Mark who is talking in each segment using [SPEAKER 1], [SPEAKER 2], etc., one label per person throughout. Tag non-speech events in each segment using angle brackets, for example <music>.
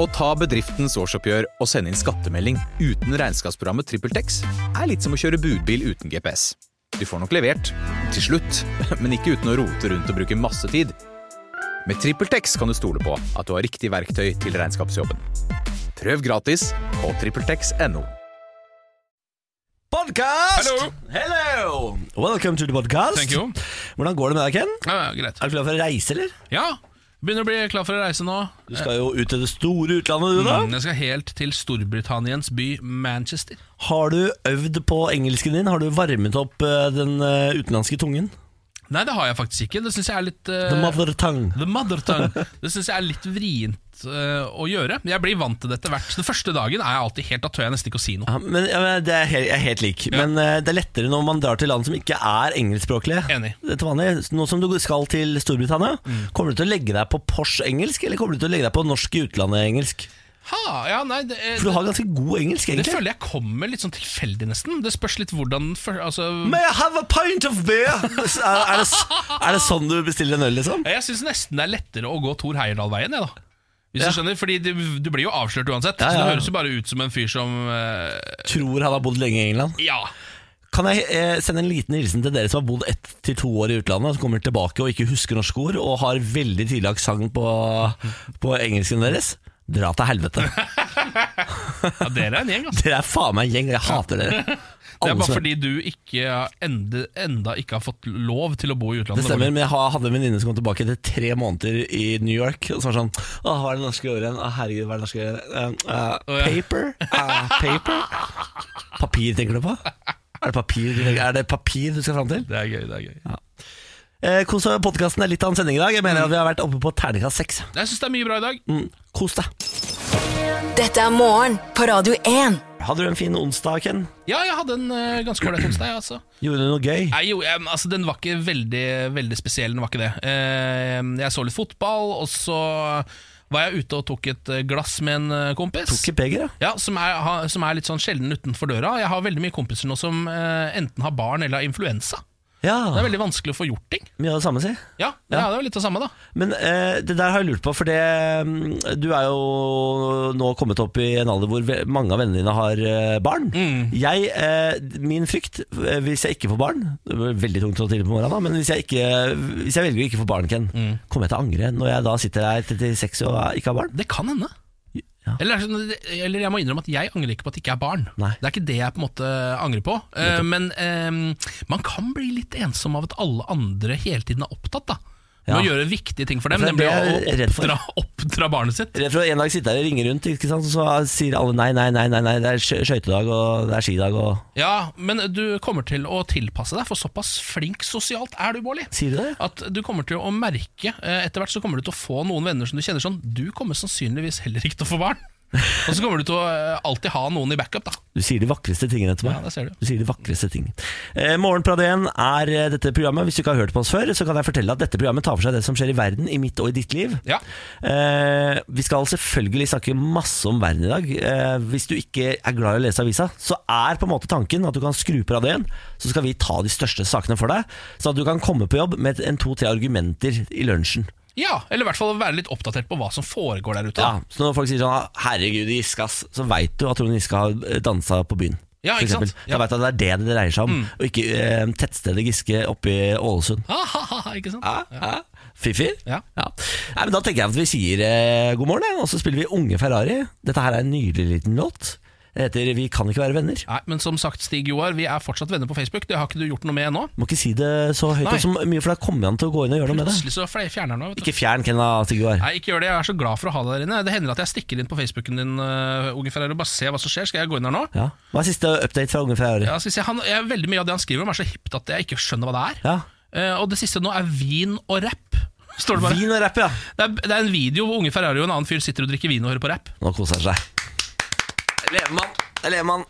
[SPEAKER 1] Å ta bedriftens årsoppgjør og sende inn skattemelding uten regnskapsprogrammet TrippelTex er litt som å kjøre budbil uten GPS. Du får nok levert, til slutt, <laughs> men ikke uten å rote rundt og bruke masse tid. Med TrippelTex kan du stole på at du har riktig verktøy til regnskapsjobben. Prøv gratis på TrippelTex.no.
[SPEAKER 2] Podcast!
[SPEAKER 3] Hallo.
[SPEAKER 2] Hello! Welcome to the podcast.
[SPEAKER 3] Thank you.
[SPEAKER 2] Hvordan går det med deg, Ken?
[SPEAKER 3] Ja, ja, greit.
[SPEAKER 2] Er du klar for å reise, eller?
[SPEAKER 3] Ja, begynner å bli klar for å reise nå.
[SPEAKER 2] Du skal jo ut til det store utlandet, du da.
[SPEAKER 3] Mm, Jeg skal helt til Storbritanniens by Manchester.
[SPEAKER 2] Har du øvd på engelsken din? Har du varmet opp eh, den eh, utenlandske tungen?
[SPEAKER 3] Nei, det har jeg faktisk ikke. Det syns jeg er litt eh,
[SPEAKER 2] The mother tongue.
[SPEAKER 3] the mother tongue. Det synes jeg er litt vrient eh, å gjøre. Jeg blir vant til dette hvert. Den første dagen er jeg alltid helt Da tør jeg nesten ikke å si noe.
[SPEAKER 2] Ja, men, ja, men det er helt, jeg er helt lik. Men eh, det er lettere når man drar til land som ikke er engelskspråklige.
[SPEAKER 3] Enig. Mm.
[SPEAKER 2] Det er til vanlig. Nå som du skal til Storbritannia, kommer du til å legge deg på Porsche engelsk, eller kommer du til å legge deg på norsk i utlandet engelsk?
[SPEAKER 3] Ha, ja, nei, det, eh,
[SPEAKER 2] For du har ganske god engelsk,
[SPEAKER 3] det
[SPEAKER 2] egentlig.
[SPEAKER 3] føler jeg kommer litt sånn tilfeldig, nesten. Det spørs litt hvordan den før- altså,
[SPEAKER 2] May I have a pint of beer? Er, er, det, s- er det sånn du bestiller en øl, liksom?
[SPEAKER 3] Jeg syns nesten det er lettere å gå Thor Heyerdahl-veien, jeg, da. Hvis du skjønner, fordi du, du blir jo avslørt uansett.
[SPEAKER 2] Ja, ja,
[SPEAKER 3] Så
[SPEAKER 2] ja.
[SPEAKER 3] Det høres jo bare ut som en fyr som eh,
[SPEAKER 2] Tror han har bodd lenge i England.
[SPEAKER 3] Ja.
[SPEAKER 2] Kan jeg eh, sende en liten hilsen til dere som har bodd ett til to år i utlandet, som kommer tilbake og ikke husker norske ord, og har veldig tydelig aksent på, på engelsken deres? Dra til helvete.
[SPEAKER 3] ja, dere er en gjeng, altså.
[SPEAKER 2] Dere er faen meg en gjeng, og jeg hater dere.
[SPEAKER 3] Det er
[SPEAKER 2] Alle
[SPEAKER 3] bare
[SPEAKER 2] som-
[SPEAKER 3] fordi du ikke har ende, enda ikke har fått lov til å bo i utlandet.
[SPEAKER 2] Det stemmer, men jeg har- hadde en venninne som kom tilbake etter tre måneder i New York. Og så var det sånn Å, hva er det norske ordet igjen? Å, herregud, hva er det norske ordet? Eh, eh,
[SPEAKER 3] Å, ja.
[SPEAKER 2] paper? Eh, paper? Papir, tenker du på? Er det papir du, tenker- er det papir du skal fram til?
[SPEAKER 3] Det er gøy. det er gøy
[SPEAKER 2] Eh, Kos deg med podkasten. Det er litt av en sending i dag. Jeg mener at vi har vært oppe på terningkast seks.
[SPEAKER 3] Jeg syns det er mye bra i dag.
[SPEAKER 2] Mm, kos deg.
[SPEAKER 4] Dette er morgen på Radio 1.
[SPEAKER 2] Hadde du en fin onsdag, Ken?
[SPEAKER 3] Ja, jeg hadde en eh, ganske ålreit onsdag. jeg, Altså.
[SPEAKER 2] Gjorde du noe gøy?
[SPEAKER 3] Nei, jo, jeg, altså, den var ikke veldig, veldig spesiell. Den var ikke det. Eh, jeg så litt fotball, og så var jeg ute og tok et eh, glass med en eh, kompis.
[SPEAKER 2] Tok et beger, ja.
[SPEAKER 3] Ja, som er, ha- som er litt sånn sjelden utenfor døra. Jeg har veldig mye kompiser nå som eh, enten har barn eller har influensa. Det
[SPEAKER 2] Ja,
[SPEAKER 3] er veldig vanskelig å få gjort ting.
[SPEAKER 2] Mye av det samme, si.
[SPEAKER 3] Ja, ja. det er jo litt det samme, da.
[SPEAKER 2] Men eh, det der har jeg lurt på, for det, mm, du er jo nå kommet opp i en alder hvor ve- mange av vennene dine har eh, barn. Jeg, eh, min frykt, eh, hvis jeg ikke får barn Det blir Veldig tungt å tidlig på morgenen, da, men hvis jeg, ikke, hvis jeg velger å ikke få barn, Ken, kommer jeg til å angre når jeg da sitter her 36 og ikke har barn?
[SPEAKER 3] Det kan hende.
[SPEAKER 2] Ja.
[SPEAKER 3] Eller, er det sånn- eller jeg må innrømme at jeg angrer ikke på at det ikke er barn.
[SPEAKER 2] Nei.
[SPEAKER 3] Det er ikke det jeg på en måte angrer på. Eh, men eh, man kan bli litt ensom av at alle andre hele tiden er opptatt da med
[SPEAKER 2] Ja.
[SPEAKER 3] å gjøre viktige ting for dem,
[SPEAKER 2] For det
[SPEAKER 3] nemlig
[SPEAKER 2] er
[SPEAKER 3] å
[SPEAKER 2] det jeg er redd for.
[SPEAKER 3] oppdra, <laughs> oppdra barnet sitt.
[SPEAKER 2] Rett fra en dag sitter jeg og ringer rundt, ikke sant? så sier alle nei, nei, nei, nei, nei det er skø- skøytedag og det er skidag og
[SPEAKER 3] Ja, Men du kommer til å tilpasse deg, for såpass flink sosialt er du, Bårli.
[SPEAKER 2] Sier du det?
[SPEAKER 3] At du kommer til å merke eh, Etter hvert så kommer du til å få noen venner som du kjenner sånn Du kommer sannsynligvis heller ikke til å få barn. Og så kommer du til å eh, alltid ha noen i backup, da.
[SPEAKER 2] Du sier de vakreste tingene til meg.
[SPEAKER 3] Ja, det ser du.
[SPEAKER 2] Du sier de vakreste ting. Eh, Morgen på Radio 1 er eh, dette programmet. Hvis du ikke har hørt på oss før, så kan jeg fortelle at dette programmet tar for seg det som skjer i verden, i mitt og i ditt liv.
[SPEAKER 3] Ja.
[SPEAKER 2] Eh, vi skal selvfølgelig snakke masse om verden i dag. Eh, hvis du ikke er glad i å lese avisa, så er på en måte tanken at du kan skru på Radio 1, så skal vi ta de største sakene for deg, så at du kan komme på jobb med et- en to-tre argumenter i lunsjen.
[SPEAKER 3] Ja, eller i hvert fall være litt oppdatert på hva som foregår der ute.
[SPEAKER 2] Ja,
[SPEAKER 3] da.
[SPEAKER 2] så når folk sier sånn Herregud, Giske, ass Så vet du at Trond Giske har dansa på byen
[SPEAKER 3] Ja,
[SPEAKER 2] for
[SPEAKER 3] ikke sant?
[SPEAKER 2] eksempel.
[SPEAKER 3] Ja.
[SPEAKER 2] Da
[SPEAKER 3] Mm.
[SPEAKER 2] vet du at det er det det dreier seg om Og ikke eh, tettstedet Giske oppe i Ålesund
[SPEAKER 3] Ah, ha, ha, ha, ikke sant?
[SPEAKER 2] ja, ja. Fiffi
[SPEAKER 3] Ja.
[SPEAKER 2] Nei, men Da tenker jeg at vi sier eh, god morgen ja, Og så spiller vi Unge Ferrari Dette her er en nydelig liten låt Det heter Vi kan ikke være venner
[SPEAKER 3] Nei, men som sagt, Stig Joar, vi er fortsatt venner på Facebook. Det har ikke du gjort noe med ennå.
[SPEAKER 2] Må ikke si det så høyt
[SPEAKER 3] Nei.
[SPEAKER 2] og så mye For da kommer han til å gå inn og gjøre noe med det
[SPEAKER 3] Plutselig så fle- fjerner han meg. vet du.
[SPEAKER 2] Ikke fjern Kenna Sigurd
[SPEAKER 3] Nei, ikke gjør det. Jeg er så glad for å ha deg der inne. Det hender at jeg stikker inn på Facebooken din, eh, Unge Ferrari, og bare ser hva som skjer. Skal jeg gå inn der nå?
[SPEAKER 2] ja. Hva er siste update fra Unge Ferrari?
[SPEAKER 3] Ja, skal vi se, han, jeg, veldig mye av det han skriver om, er så hipt at jeg ikke skjønner hva det er.
[SPEAKER 2] Ja.
[SPEAKER 3] Eh, og det siste nå er vin og rap. Står det bare.
[SPEAKER 2] Vin og rapp, ja
[SPEAKER 3] Det er, det er en video hvor Unge Ferrari og en annen fyr sitter og drikker vin og hører på rap.
[SPEAKER 2] Nå koser han seg Levemann, levemann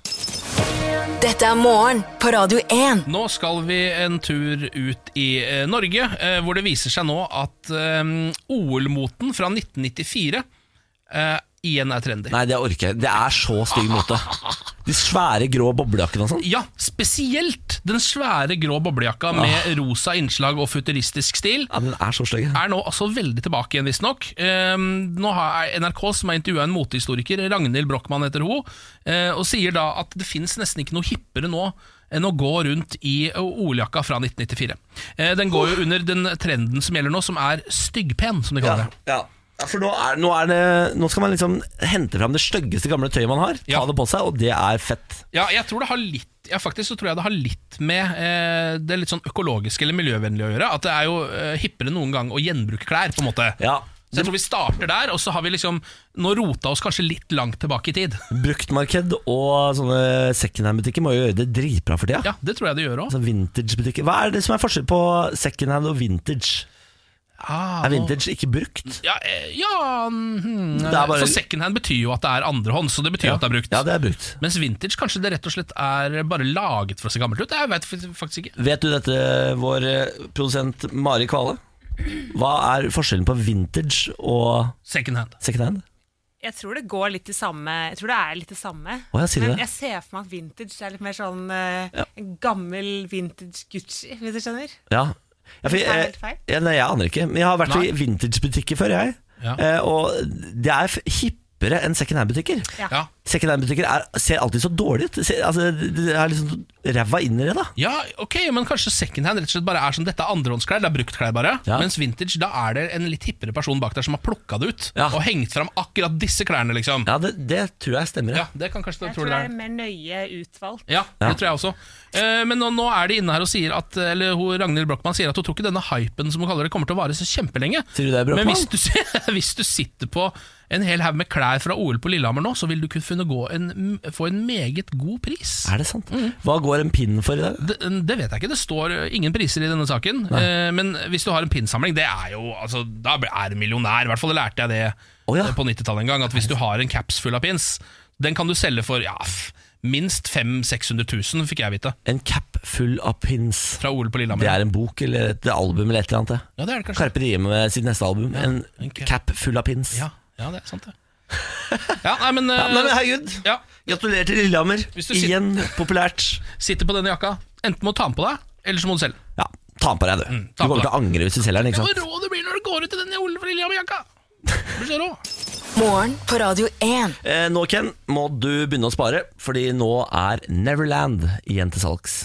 [SPEAKER 4] Dette er morgen på Radio 1.
[SPEAKER 3] Nå skal vi en tur ut i eh, Norge, eh, hvor det viser seg nå at eh, OL-moten fra 1994 eh, igjen er trendy.
[SPEAKER 2] Nei, det orker jeg. Det er så stygg mote. De svære grå boblejakkene og sånn.
[SPEAKER 3] Ja, spesielt den svære grå boblejakka med rosa innslag og futuristisk stil.
[SPEAKER 2] Ja, den er så stygg.
[SPEAKER 3] er nå altså veldig tilbake igjen, visstnok. Um, nå har NRK som har intervjua en motehistoriker, Ragnhild Brochmann heter hun, eh, og sier da at det finnes nesten ikke noe hippere nå enn å gå rundt i oljakka fra 1994. Eh, den går jo under den trenden som gjelder nå, som er styggpen, som de
[SPEAKER 2] Ja,
[SPEAKER 3] kaller det.
[SPEAKER 2] ja. Ja, For nå, er, nå, er det, nå skal man liksom hente fram det styggeste gamle tøyet man har, ta
[SPEAKER 3] Ja.
[SPEAKER 2] det på seg, og det er fett.
[SPEAKER 3] Ja, jeg tror det har litt ja, faktisk så tror jeg det har litt med eh, det litt sånn økologiske eller miljøvennlige å gjøre. At det er jo eh, hippere enn noen gang å gjenbruke klær, på en måte.
[SPEAKER 2] Ja.
[SPEAKER 3] Så jeg tror vi starter der, og så har vi liksom Nå rota oss kanskje litt langt tilbake i tid.
[SPEAKER 2] Bruktmarked og sånne secondhand-butikker må jo gjøre det dritbra for tida.
[SPEAKER 3] Ja, det tror jeg det gjør òg.
[SPEAKER 2] Altså vintage-butikker Hva er det som er forskjell på secondhand og vintage?
[SPEAKER 3] Ah,
[SPEAKER 2] Er vintage ikke brukt?
[SPEAKER 3] Ja, eh, ja hmm,
[SPEAKER 2] Det er bare-
[SPEAKER 3] For secondhand betyr jo at det er andrehånd, så det betyr at det er brukt.
[SPEAKER 2] Ja, det er brukt.
[SPEAKER 3] Mens vintage kanskje det rett og slett er bare laget for å se gammelt ut. Jeg vet f- faktisk ikke.
[SPEAKER 2] Vet du dette, vår eh, produsent Mari Kvale? Hva er forskjellen på vintage og
[SPEAKER 3] Secondhand.
[SPEAKER 2] secondhand?
[SPEAKER 5] Jeg tror det går litt i samme Jeg tror det er litt det samme.
[SPEAKER 2] Å, ja, sier du
[SPEAKER 5] Men
[SPEAKER 2] det?
[SPEAKER 5] jeg ser for meg at vintage er litt mer sånn eh, gammel vintage Gucci, hvis du skjønner.
[SPEAKER 2] Ja, ja for jeg,
[SPEAKER 5] Tar jeg helt feil?
[SPEAKER 2] ja, nei, jeg aner ikke. Men jeg har vært
[SPEAKER 3] Nei.
[SPEAKER 2] i vintagebutikker før, jeg.
[SPEAKER 3] Ja.
[SPEAKER 2] Eh, og det er f- hippere enn secondhand-butikker.
[SPEAKER 5] Ja.
[SPEAKER 3] Ja.
[SPEAKER 2] Secondhand-butikker er- ser alltid så dårlig ut. Ser, altså, det er liksom ræva innreda.
[SPEAKER 3] ja, ok, men kanskje secondhand rett og slett bare er som dette er andrehåndsklær. Det er bruktklær, bare.
[SPEAKER 2] Ja.
[SPEAKER 3] Mens vintage, da er det en litt hippere person bak der som har plukka det ut.
[SPEAKER 2] Ja.
[SPEAKER 3] Og hengt fram akkurat disse klærne, liksom.
[SPEAKER 2] Ja, det, det tror jeg stemmer.
[SPEAKER 3] Ja,
[SPEAKER 2] Ja.
[SPEAKER 3] det kan kanskje tror
[SPEAKER 5] Jeg tror det
[SPEAKER 3] dere
[SPEAKER 5] er mer nøye utvalgt.
[SPEAKER 3] Ja, det tror jeg også. Eh, men nå, nå er de inne her og sier at Eller hun, Ragnhild Brochmann sier at hun tror ikke denne hypen som hun kaller det kommer til å vare så kjempelenge.
[SPEAKER 2] Sier du det, Brochmann?
[SPEAKER 3] men hvis du, <laughs> hvis du sitter på en hel haug med klær fra OL på Lillehammer nå, så vil du kunne finne gå en, få en meget god pris.
[SPEAKER 2] Er det sant?
[SPEAKER 5] Mm.
[SPEAKER 2] Hva går en pinn for i dag?
[SPEAKER 3] Det, det vet jeg ikke. Det står eh, ingen priser i denne saken. Eh, men hvis du har en pinnsamling, det er jo altså, Da er du millionær. I hvert fall lærte jeg det
[SPEAKER 2] Å, ja.
[SPEAKER 3] eh, på 90-tallet en gang. At hvis du har en caps full av pins, den kan du selge for ja, f- minst 500 000-600 000, fikk jeg vite.
[SPEAKER 2] En cap full av pins.
[SPEAKER 3] Fra OL på Lillehammer.
[SPEAKER 2] Det er en bok eller et album eller et eller annet. det.
[SPEAKER 3] Ja, det er det kanskje.
[SPEAKER 2] Carpe Diem med sitt neste album. En
[SPEAKER 3] en cap.
[SPEAKER 2] cap full av pins.
[SPEAKER 3] Ja, ja, det er sant, det. Ja, nei,
[SPEAKER 2] <laughs>
[SPEAKER 3] men, eh,
[SPEAKER 2] Nei, men herregud,
[SPEAKER 3] ja,
[SPEAKER 2] gratulerer til Lillehammer.
[SPEAKER 3] Hvis du sit-
[SPEAKER 2] Igjen populært.
[SPEAKER 3] Sitter på denne jakka. Enten må du ta den på deg, eller så må du selge.
[SPEAKER 2] Ja, ta den på deg, du. du
[SPEAKER 3] Mm, ta den på
[SPEAKER 2] kommer til
[SPEAKER 3] deg.
[SPEAKER 2] å angre hvis du selger den.
[SPEAKER 3] Det
[SPEAKER 2] ikke
[SPEAKER 3] var
[SPEAKER 2] sant?
[SPEAKER 3] rå du blir når du går ut i den Ole Lillehammer-jakka! Du blir så rå.
[SPEAKER 4] Morgen på Radio 1.
[SPEAKER 2] Eh, nå, Ken, må du begynne å spare, fordi nå er Neverland igjen til salgs.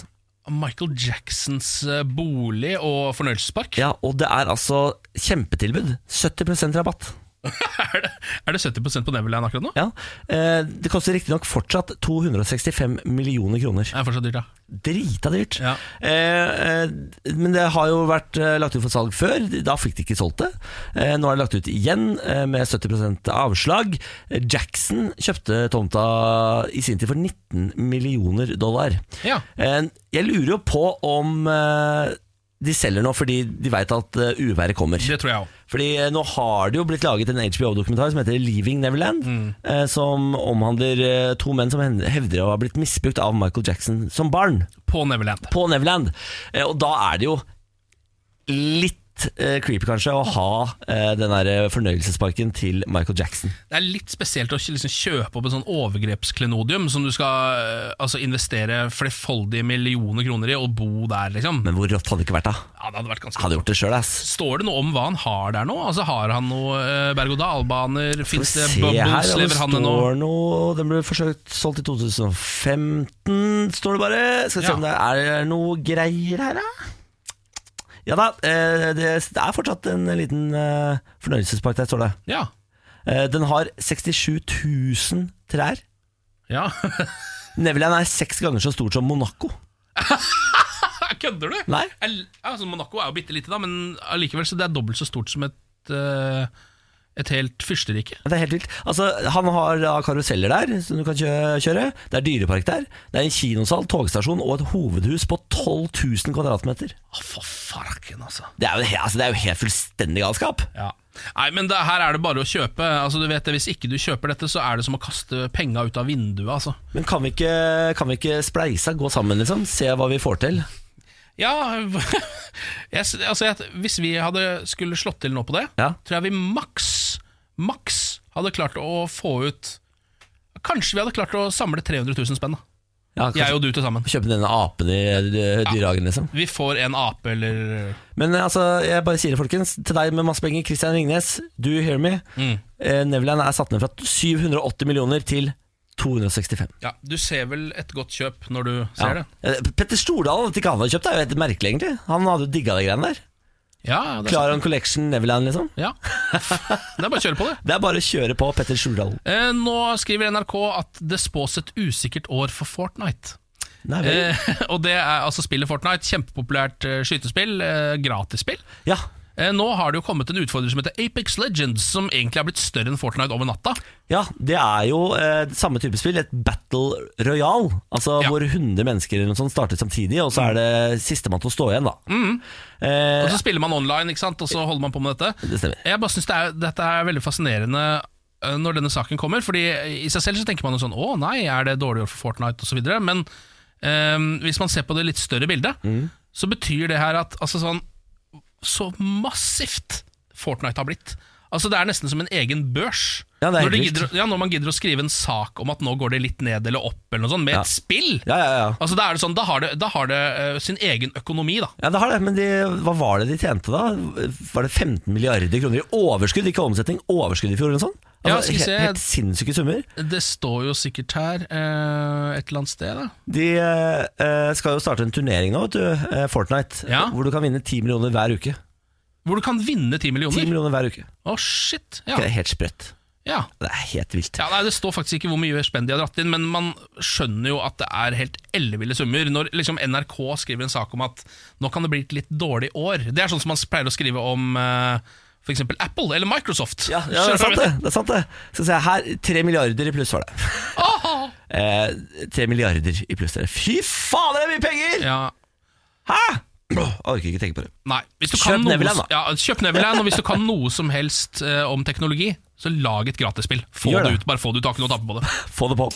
[SPEAKER 3] Michael Jacksons eh, bolig og fornøyelsespark.
[SPEAKER 2] Ja, Og det er altså kjempetilbud. 70 rabatt.
[SPEAKER 3] <laughs> Er, det, er det 70 på Neverland akkurat nå?
[SPEAKER 2] Ja, eh, Det koster riktignok fortsatt 265 millioner kroner.
[SPEAKER 3] Det er fortsatt dyrt, ja.
[SPEAKER 2] Drita dyrt.
[SPEAKER 3] Ja.
[SPEAKER 2] Eh, eh, men det har jo vært eh, lagt ut for salg før. Da fikk de ikke solgt det. Eh, nå er det lagt ut igjen eh, med 70 avslag. Eh, Jackson kjøpte tomta i sin tid for 19 millioner dollar.
[SPEAKER 3] Ja.
[SPEAKER 2] Eh, jeg lurer jo på om eh, de selger nå fordi de veit at eh, uværet kommer.
[SPEAKER 3] Det tror jeg òg.
[SPEAKER 2] Fordi eh, nå har det jo blitt laget en HBO-dokumentar som heter 'Leaving Neverland', eh, som omhandler eh, to menn som hen- hevder å ha blitt misbrukt av Michael Jackson som barn
[SPEAKER 3] På Neverland.
[SPEAKER 2] på Neverland. Eh, Og da er det jo litt eh, creepy kanskje å ha eh, den der fornøyelsesparken til Michael Jackson.
[SPEAKER 3] Det er litt spesielt å liksom kjøpe opp en sånn overgrepsklenodium som du skal eh, altså investere flerfoldige millioner kroner i, og bo der, liksom.
[SPEAKER 2] Men hvor rått hadde det ikke vært da?
[SPEAKER 3] Ja, det hadde vært ganske
[SPEAKER 2] Hadde gjort det sjøl, ass.
[SPEAKER 3] Står det noe om hva han har der nå? Altså Har han noe eh, berg-og-dal-baner? Fins det
[SPEAKER 2] Se her, ja,
[SPEAKER 3] bubbles?
[SPEAKER 2] det
[SPEAKER 3] Lever han det nå?
[SPEAKER 2] står noe Den ble forsøkt solgt i 2015, står det bare. Skal vi se
[SPEAKER 3] Ja.
[SPEAKER 2] om det er noe greier her, da. Ja da, eh, det det er fortsatt en liten eh, fornøyelsespark der, står det.
[SPEAKER 3] Ja.
[SPEAKER 2] Eh, Den har 67 000 trær.
[SPEAKER 3] ja. <laughs>
[SPEAKER 2] Neverland er seks ganger så stort som Monaco.
[SPEAKER 3] Kødder du?
[SPEAKER 2] Nei.
[SPEAKER 3] El- Altså, Monaco er jo bitte lite, da, men allikevel så det er dobbelt så stort som et, eh, et helt fyrsterike.
[SPEAKER 2] Det er helt vilt. Altså, han har da karuseller der som du kan kjø- kjøre. Det er dyrepark der. Det er en kinosal, togstasjon og et hovedhus på 12 000 kvadratmeter.
[SPEAKER 3] Å, for farken, altså.
[SPEAKER 2] Det er jo, he- altså, det er jo helt fullstendig galskap.
[SPEAKER 3] Ja. Nei, men det, her er det bare å kjøpe. Altså, du vet det, Hvis ikke du kjøper dette, så er det som å kaste penga ut av vinduet, altså.
[SPEAKER 2] Men kan vi ikke, kan vi ikke spleisa, gå sammen, liksom? Se hva vi får til?
[SPEAKER 3] Ja, <laughs> jeg, s- altså jeg, Hvis vi hadde skulle slått til nå på det,
[SPEAKER 2] Ja.
[SPEAKER 3] tror jeg vi maks Maks hadde klart å få ut Kanskje vi hadde klart å samle 300 000 spenn. da.
[SPEAKER 2] Ja, kanskje-
[SPEAKER 3] Jeg og du til sammen.
[SPEAKER 2] Kjøpe denne apen i eh, dyrehagen, liksom.
[SPEAKER 3] Vi får en ape eller
[SPEAKER 2] Men eh, altså, jeg bare sier det, folkens. Til deg med masse penger, Christian Ringnes, do you hear me?
[SPEAKER 3] Mm.
[SPEAKER 2] Eh, Nevland er satt ned fra 780 millioner til 265.
[SPEAKER 3] Ja, du ser vel et godt kjøp når du
[SPEAKER 2] Ja.
[SPEAKER 3] ser det.
[SPEAKER 2] Eh, Petter Stordalen, at ikke han hadde kjøpt, det er jo helt merkelig, egentlig. Han hadde jo digga de greiene der.
[SPEAKER 3] Ja, ja, det er sant.
[SPEAKER 2] Klar on collection, Neverland, liksom.
[SPEAKER 3] Ja. <laughs> Det er bare å kjøre på det.
[SPEAKER 2] Det er bare å kjøre på Petter Stordalen.
[SPEAKER 3] Eh, nå skriver NRK at det spås et usikkert år for Fortnite.
[SPEAKER 2] Nei, vel.
[SPEAKER 3] Eh, <laughs> og det er altså spillet Fortnite. Kjempepopulært eh, skytespill. Eh, gratisspill.
[SPEAKER 2] Ja.
[SPEAKER 3] Eh, nå har det jo kommet en utfordrer som heter Apex Legends, som egentlig har blitt større enn Fortnite over natta.
[SPEAKER 2] ja, det er jo eh, samme type spill, et battle royal. Altså
[SPEAKER 3] Ja.
[SPEAKER 2] hvor 100 mennesker eller noe sånt starter samtidig, og så er det sistemann til å stå igjen, da.
[SPEAKER 3] Og
[SPEAKER 2] Eh,
[SPEAKER 3] så spiller man online, ikke sant? og så holder man på med dette.
[SPEAKER 2] det stemmer.
[SPEAKER 3] Jeg bare synes det er, dette er veldig fascinerende eh, når denne saken kommer, fordi i seg selv så tenker man jo sånn, å nei, er det dårlig år for Fortnite og så videre, men eh, hvis man ser på det litt større bildet,
[SPEAKER 2] Mm.
[SPEAKER 3] så betyr det her at, altså sånn, så massivt Fortnite har blitt. Altså det er nesten som en egen børs.
[SPEAKER 2] Ja, det er
[SPEAKER 3] når, de
[SPEAKER 2] helt
[SPEAKER 3] gidder, ja, når man gidder å skrive en sak om at nå går det litt ned eller opp eller noe sånt, med
[SPEAKER 2] Ja.
[SPEAKER 3] et spill,
[SPEAKER 2] Ja, ja, ja.
[SPEAKER 3] altså da er det sånn, da har det, da har det eh, sin egen økonomi da.
[SPEAKER 2] Ja, det har det, men de, hva var det de tjente da? Var det 15 milliarder kroner i overskudd, ikke omsetning, overskudd i fjor eller noe sånt?
[SPEAKER 3] Ja,
[SPEAKER 2] Altså,
[SPEAKER 3] skal vi
[SPEAKER 2] helt,
[SPEAKER 3] se.
[SPEAKER 2] helt sinnssyke summer.
[SPEAKER 3] Det står jo sikkert her eh, et eller annet sted da.
[SPEAKER 2] De eh, skal jo starte en turnering nå, vet du, eh, Fortnite,
[SPEAKER 3] Ja.
[SPEAKER 2] hvor du kan vinne 10 millioner hver uke.
[SPEAKER 3] Hvor du kan vinne
[SPEAKER 2] 10
[SPEAKER 3] 10 millioner?
[SPEAKER 2] millioner hver uke.
[SPEAKER 3] Å, shit. Ja.
[SPEAKER 2] Det er helt sprøtt.
[SPEAKER 3] Ja.
[SPEAKER 2] Det er helt vilt.
[SPEAKER 3] ja, nei, Det står faktisk ikke hvor mye spenn de har dratt inn, men man skjønner jo at det er helt elleville summer. Når liksom NRK skriver en sak om at nå kan det bli et litt dårlig år. Det er sånn som man pleier å skrive om f.eks. Apple eller Microsoft.
[SPEAKER 2] Ja, ja, det er sant det. det, er sant det. Så ser jeg her, 3 milliarder i pluss var det.
[SPEAKER 3] Aha!
[SPEAKER 2] Eh, 3 milliarder i pluss, dere. Fy fader, det er mye penger!
[SPEAKER 3] <laughs> Ja,
[SPEAKER 2] Hæ? Åh, Jeg orker ikke tenke på det.
[SPEAKER 3] nei. Hvis du
[SPEAKER 2] Kjøp
[SPEAKER 3] kan noe-
[SPEAKER 2] Neverland, da.
[SPEAKER 3] Ja, kjøp Neverland, og hvis du kan noe som helst eh, om teknologi, så lag et gratisspill. Få
[SPEAKER 2] Gjør
[SPEAKER 3] det.
[SPEAKER 2] det.
[SPEAKER 3] ut, bare få det ut, du har ikke noe å tape
[SPEAKER 2] <laughs>
[SPEAKER 3] på det.
[SPEAKER 2] Få det på.